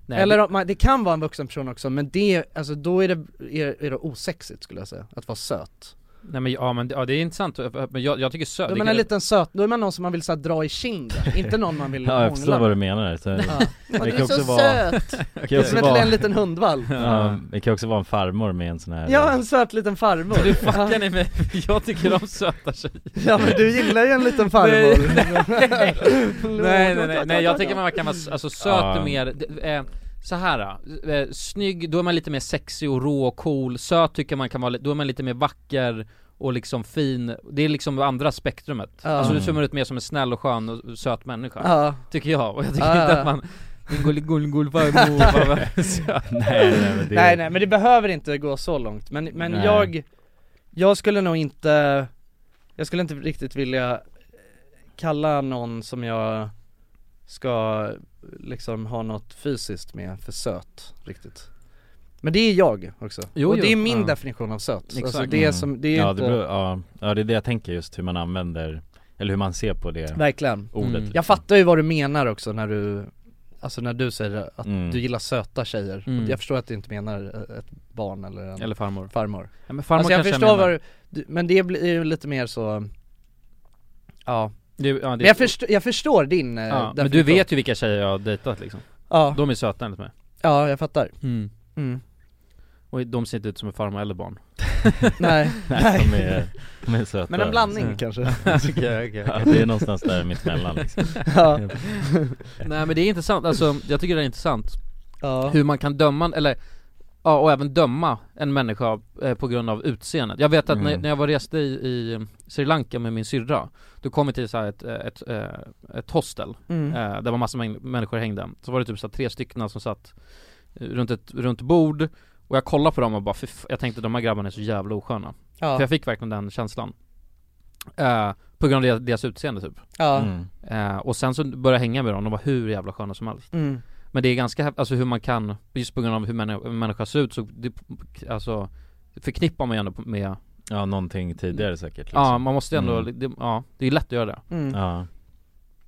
Speaker 2: Nej,
Speaker 1: Eller
Speaker 2: det-
Speaker 1: om man, det kan vara en vuxen person också men det, alltså då är det, är, är det osexigt skulle jag säga, att vara söt
Speaker 2: Nej men ja men ja, det är intressant, men jag, jag tycker
Speaker 1: Då
Speaker 2: söt
Speaker 1: är
Speaker 2: det
Speaker 1: man
Speaker 2: kan-
Speaker 1: en liten söt, då är man någon som man vill så här, dra i kinden, inte någon man vill
Speaker 3: Ja jag förstår
Speaker 1: hångla
Speaker 3: vad
Speaker 1: med.
Speaker 3: du menar så,
Speaker 1: Ja. Men du är så söt!
Speaker 3: det kan
Speaker 1: Som
Speaker 3: också
Speaker 1: ett-
Speaker 3: vara-
Speaker 1: en liten hundvalp.
Speaker 3: Ja, det kan också vara en farmor med en sån här
Speaker 1: Ja en söt liten farmor
Speaker 2: Du fuckar ni mig, jag tycker om söta tjejer
Speaker 1: Ja men du gillar ju en liten farmor
Speaker 2: Nej nej nej, nej, nej jag tänker man kan vara s- alltså söt
Speaker 3: Ja.
Speaker 2: och mer, det- eh, så här då. eh, snygg, då är man lite mer sexig och rå och cool, söt tycker man kan vara, li- då är man lite mer vacker och liksom fin, det är liksom andra spektrumet.
Speaker 1: Ja.
Speaker 2: Alltså du ser ut mer som en snäll och skön och söt människa,
Speaker 1: Ja.
Speaker 2: tycker jag, och jag tycker
Speaker 1: Ja, ja,
Speaker 2: inte
Speaker 1: ja.
Speaker 2: att man din gull, gull, gull, farmor, vad- vad- söt.
Speaker 1: nej, nej, men det behöver inte gå så långt, men, men
Speaker 2: Nej.
Speaker 1: jag, jag skulle nog inte, jag skulle inte riktigt vilja kalla någon som jag ska liksom ha något fysiskt med för söt riktigt Men det är jag också,
Speaker 2: Jo,
Speaker 1: och det
Speaker 2: jo,
Speaker 1: är min
Speaker 2: ja.
Speaker 1: definition av söt, alltså
Speaker 2: Exakt.
Speaker 1: det är
Speaker 2: Mm.
Speaker 1: som, det är
Speaker 3: ja,
Speaker 1: inte
Speaker 3: det beror, ja, ja det är det jag tänker just hur man använder, eller hur man ser på det
Speaker 1: Verkligen.
Speaker 2: Oh.
Speaker 3: ordet
Speaker 1: Mm. Jag fattar ju vad du menar också när du Alltså när du säger att
Speaker 3: Mm.
Speaker 1: du gillar söta tjejer.
Speaker 2: Mm.
Speaker 1: Jag förstår att du inte menar ett barn eller en
Speaker 2: Eller farmor.
Speaker 1: farmor.
Speaker 2: Ja, men farmor
Speaker 1: alltså jag
Speaker 2: kanske jag
Speaker 1: förstår vad
Speaker 2: menar.
Speaker 1: du, du- men det blir ju lite mer så Ja,
Speaker 2: Det- ja, det-
Speaker 1: Men jag, förstår, jag förstår din eh,
Speaker 2: ja, Men du
Speaker 1: definition.
Speaker 2: vet ju vilka tjejer jag har dejtat liksom
Speaker 1: Ja.
Speaker 2: De är söta enligt mig
Speaker 1: Ja, jag fattar
Speaker 2: Mm.
Speaker 1: Mm.
Speaker 2: Och de ser inte ut som en farmor eller barn
Speaker 1: Nej.
Speaker 3: Nej, de är- de är söta. Mm.
Speaker 1: Men en blandning
Speaker 2: Mm.
Speaker 1: kanske.
Speaker 2: Okej, okej, okej.
Speaker 3: Ja, det är någonstans där mittemellan, liksom.
Speaker 1: Ja.
Speaker 2: Nej men det är intressant, alltså jag tycker det är intressant
Speaker 1: Ja.
Speaker 2: Hur man kan döma, eller Ja och även döma en människa eh, på grund av utseendet. Jag vet att när,
Speaker 14: Mm.
Speaker 2: när jag var reste i, i Sri Lanka med min syrra Då kom vi till så här ett, eh, ett, eh, ett hostel
Speaker 14: Mm.
Speaker 2: eh, Där var massa mäng- människor hängde Så var det typ så här tre stycken som satt eh, runt ett runt bord Och jag kollade på dem och bara "Fy f- jag tänkte de här grabbarna är så jävla osköna
Speaker 1: Ja.
Speaker 2: För jag fick verkligen den känslan eh, På grund av deras, deras utseende typ
Speaker 1: Ja.
Speaker 3: Mm.
Speaker 2: eh, Och sen så började jag hänga med dem, de var hur jävla sköna som helst
Speaker 1: Mm.
Speaker 2: Men det är ganska, häf- alltså hur man kan, just på grund av hur människa, hur människa ser ut så, det, alltså Förknippar man ju ändå på- med
Speaker 3: Ja någonting tidigare säkert liksom.
Speaker 2: Ja man måste ju ändå,
Speaker 3: Mm.
Speaker 2: det, ja det är lätt att göra det
Speaker 1: Mm.
Speaker 3: Ja.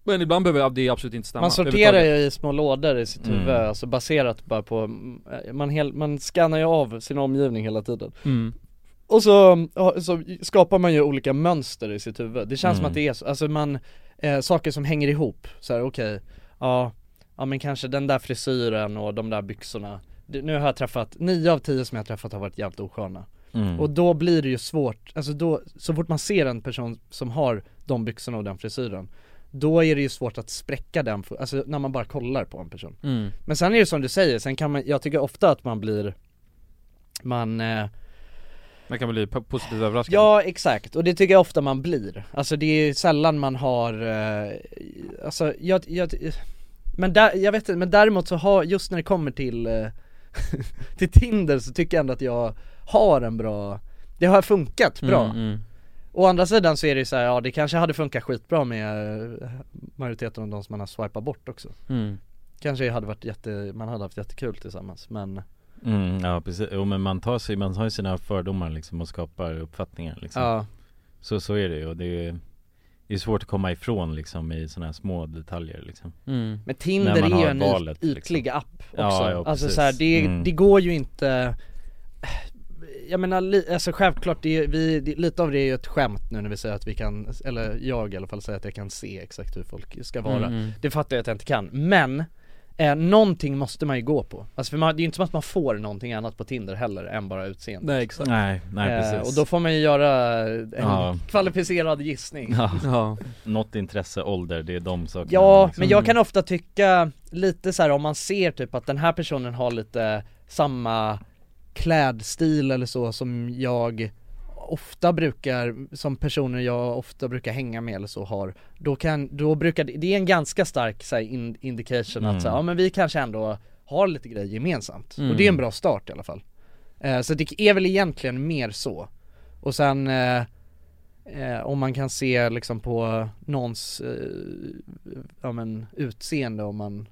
Speaker 2: Men ibland behöver jag- det absolut inte stämma
Speaker 1: Man sorterar ju i små lådor i sitt
Speaker 2: Mm.
Speaker 1: huvud, alltså baserat bara på, mm, man, hel, man scannar ju av sin omgivning hela tiden
Speaker 2: Mm.
Speaker 1: Och så, ja, så skapar man ju olika mönster i sitt huvud, det känns som
Speaker 2: Mm.
Speaker 1: att det är så, alltså man, eh, saker som hänger ihop, så här, okej, ja, ja men kanske den där frisyren och de där byxorna Det- Nu har jag träffat, nio av tio som jag har träffat har varit jävligt osköna
Speaker 3: Mm.
Speaker 1: Och då blir det ju svårt, alltså då, så fort man ser en person som har de byxorna och den frisyren Då är det ju svårt att spräcka den, för- alltså när man bara kollar på en person
Speaker 2: Mm.
Speaker 1: Men sen är det som du säger, sen kan man, jag tycker ofta att man blir Man eh,
Speaker 2: Man kan bli po- positivt överraskad
Speaker 1: Ja exakt, och det tycker jag ofta man blir. Alltså det är ju sällan man har, eh, alltså jag, jag men, där, jag vet inte, men däremot så har, just när det kommer till, eh, till Tinder så tycker jag ändå att jag har en bra, det har funkat bra.
Speaker 2: Mm, mm.
Speaker 1: Å andra sidan så är det ju så här, ja det kanske hade funkat skitbra med eh, majoriteten av de som man har swipat bort också.
Speaker 2: Mm.
Speaker 1: Kanske hade varit jätte, man hade haft jättekul tillsammans men
Speaker 3: Mm, ja precis, jo men man tar, sig, man tar ju sina fördomar liksom och skapar uppfattningar liksom.
Speaker 1: Ja.
Speaker 3: Så, så är det ju och det är ju det är svårt att komma ifrån liksom i sådana här små detaljer liksom
Speaker 2: Mm.
Speaker 1: Men
Speaker 3: När
Speaker 1: Tinder
Speaker 3: man
Speaker 1: är ju
Speaker 3: har
Speaker 1: en
Speaker 3: valet, liksom.
Speaker 1: yt- ytlig app också,
Speaker 3: Ja, ja,
Speaker 1: alltså
Speaker 3: precis.
Speaker 1: så här, det,
Speaker 3: Mm.
Speaker 1: det går ju inte Jag menar, li, alltså självklart, det, är- vi, det, lite av det är ju ett skämt nu när vi säger att vi kan, eller jag i alla fall säger att jag kan se exakt hur folk ska vara
Speaker 2: Mm, mm.
Speaker 1: Det fattar jag att jag inte kan, men Eh, någonting måste man ju gå på. Alltså för man, det är ju inte som att man får någonting annat på Tinder heller än bara utseende. Eh,
Speaker 2: Nej, exakt.
Speaker 3: Nej, nej, precis.
Speaker 1: och då får man ju göra en
Speaker 3: Ja.
Speaker 1: kvalificerad gissning.
Speaker 3: Ja. Något intresse, ålder, det är de sakerna
Speaker 1: Ja,
Speaker 3: liksom.
Speaker 1: men jag kan ofta tycka lite så här om man ser typ att den här personen har lite samma klädstil eller så som jag ofta brukar, som personer jag ofta brukar hänga med eller så har, då kan, då brukar det, det är en ganska stark så här, in, indication
Speaker 2: Mm.
Speaker 1: att så här, ja men vi kanske ändå har lite grejer gemensamt
Speaker 2: Mm.
Speaker 1: och det är en bra start i alla fall. Eh, så det är väl egentligen mer så. Och sen eh, eh, om man kan se liksom på någons eh, ja, men, utseende om man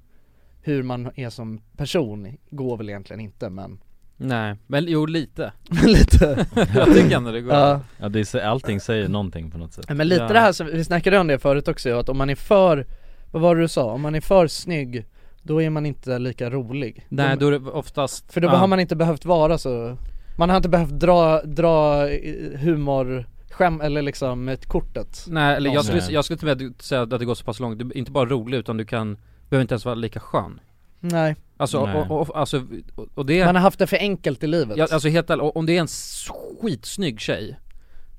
Speaker 1: hur man är som person går väl egentligen inte men
Speaker 2: Nej, men jo lite
Speaker 1: Lite
Speaker 2: Jag tycker ändå det går
Speaker 1: Ja.
Speaker 3: Ja, det är, så- allting säger någonting på något sätt
Speaker 1: Nej, men lite
Speaker 3: ja.
Speaker 1: det här som, vi snackade om det förut också att om man är för, vad var det du sa? Om man är för snygg då är man inte lika rolig
Speaker 2: Nej, då är det oftast
Speaker 1: För då
Speaker 2: ja.
Speaker 1: har man inte behövt vara så, man har inte behövt dra, dra eh, humor skäm eller liksom ett kortet
Speaker 2: Nej, eller jag skulle,
Speaker 1: Någonstans.
Speaker 2: jag skulle till och med säga att det går så pass långt, du är inte bara rolig utan du kan, behöver inte ens vara lika skön
Speaker 1: Nej.
Speaker 2: Alltså,
Speaker 1: Nej.
Speaker 2: Och, och, alltså, och- och det
Speaker 1: Man har haft det för enkelt i livet
Speaker 2: Ja, alltså helt ärligt, om det är en skitsnygg tjej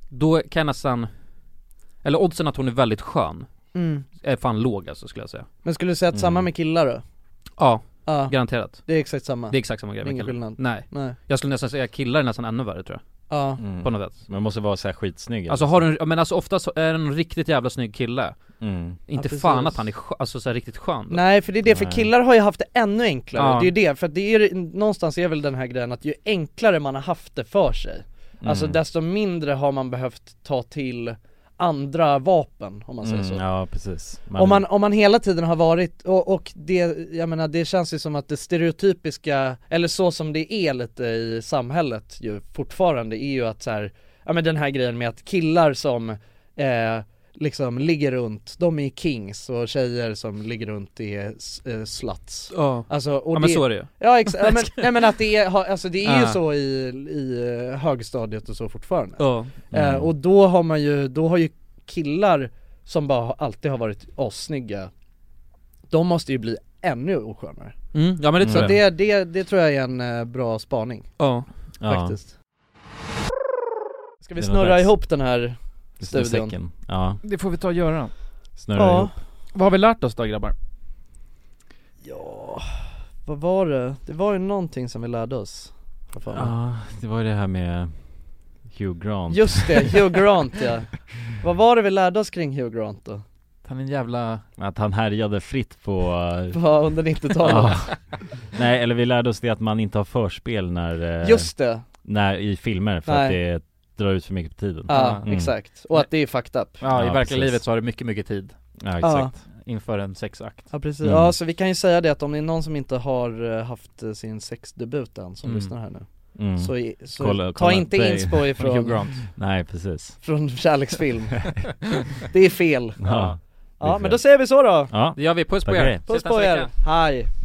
Speaker 2: Då kan jag nästan, eller oddsen att hon är väldigt skön
Speaker 1: Mm.
Speaker 2: Är fan låg alltså skulle jag säga
Speaker 1: Men skulle du säga att samma med killar då?
Speaker 2: Mm. Ja,
Speaker 1: Ja.
Speaker 2: garanterat
Speaker 1: Det är exakt samma
Speaker 2: Det är exakt samma grej med
Speaker 1: Ingen
Speaker 2: killar.
Speaker 1: skillnad
Speaker 2: Nej.
Speaker 1: Nej
Speaker 2: Jag skulle nästan säga att killar är nästan ännu värre tror jag
Speaker 1: Ja.
Speaker 3: Mm.
Speaker 2: På något sätt
Speaker 3: Man måste vara så här skitsnygg
Speaker 2: Alltså har du, en- ja, men alltså oftast är det en riktigt jävla snygg kille
Speaker 3: Mm.
Speaker 2: Inte
Speaker 1: Ja,
Speaker 2: fan
Speaker 1: precis.
Speaker 2: att han är skö- alltså så här riktigt skön då.
Speaker 1: Nej för det är det, för killar har ju haft det ännu enklare,
Speaker 2: Ja.
Speaker 1: det är ju det, för att det är någonstans är väl den här grejen att ju enklare man har haft det för sig Alltså
Speaker 3: Mm.
Speaker 1: desto mindre har man behövt ta till andra vapen om man säger så
Speaker 3: Mm, Ja, precis
Speaker 1: Om, man, om man hela tiden har varit, och, och det, jag menar det känns ju som att det stereotypiska, eller så som det är lite i samhället ju fortfarande är ju att så här, ja men den här grejen med att killar som eh, liksom ligger runt, de är kings och tjejer som ligger runt är s- eh, sluts
Speaker 2: Ja.
Speaker 1: alltså, och
Speaker 2: Ja, men så Ah. är det ju.
Speaker 1: Ja exakt, ja, men, nej, men att det är, ha- alltså det är ju
Speaker 2: Ja.
Speaker 1: så i, i eh, högstadiet och så fortfarande
Speaker 2: Ja.
Speaker 1: eh,
Speaker 2: Mm.
Speaker 1: Och då har man ju, då har ju killar som bara har- alltid har varit assnygga De måste ju bli ännu oskönare
Speaker 2: Mm, ja, men det tror
Speaker 1: Så
Speaker 2: jag.
Speaker 1: det, det, det tror jag är en eh, bra spaning
Speaker 2: Ja.
Speaker 1: Faktiskt Ska vi
Speaker 3: Det var
Speaker 1: snurra
Speaker 3: dags.
Speaker 1: ihop den här studion?
Speaker 3: Snurrsäcken. Ja,
Speaker 2: Det får vi ta och göra
Speaker 3: snurra ja. ihop
Speaker 2: Vad har vi lärt oss då grabbar?
Speaker 1: Ja, vad var det? Det var ju någonting som vi lärde oss Vad fan?
Speaker 3: Ja, det var ju det här med Hugh Grant
Speaker 1: Just det, Hugh Grant ja Vad var det vi lärde oss kring Hugh Grant då?
Speaker 2: Han är en jävla
Speaker 3: Att han härjade fritt på... eh,
Speaker 1: På- under 90-talet.
Speaker 3: Ja. Nej, eller vi lärde oss det att man inte har förspel när... eh,
Speaker 1: Just det.
Speaker 3: När, i filmer för
Speaker 1: Nej.
Speaker 3: att det drar ut för mycket på tiden
Speaker 1: Ja,
Speaker 3: Mm.
Speaker 1: exakt. Och att det är fucked up.
Speaker 2: Ja, i
Speaker 3: Ja,
Speaker 2: verkliga
Speaker 3: precis.
Speaker 2: livet så har det mycket, mycket tid
Speaker 3: Ja,
Speaker 1: exakt.
Speaker 2: Inför en sexakt
Speaker 1: Ja precis,
Speaker 2: Mm.
Speaker 1: ja så vi kan ju säga det att om det är någon som inte har eh, haft eh, sin sexdebut än som
Speaker 2: Mm.
Speaker 1: lyssnar här nu
Speaker 3: Mm.
Speaker 1: Så, i- så
Speaker 3: Kolla-
Speaker 1: ta
Speaker 3: kolla
Speaker 1: inte
Speaker 3: upp dig.
Speaker 1: inspo
Speaker 3: Från
Speaker 1: ifrån
Speaker 3: Hugh Grant. Nej, precis.
Speaker 1: Från kärleksfilm Det är fel
Speaker 3: Ja, det är
Speaker 1: Ja men
Speaker 3: fel.
Speaker 1: då säger vi så då
Speaker 3: Ja.
Speaker 2: Det gör vi, puss på
Speaker 3: Tack och
Speaker 2: er!
Speaker 3: hej.
Speaker 1: Puss på er, hej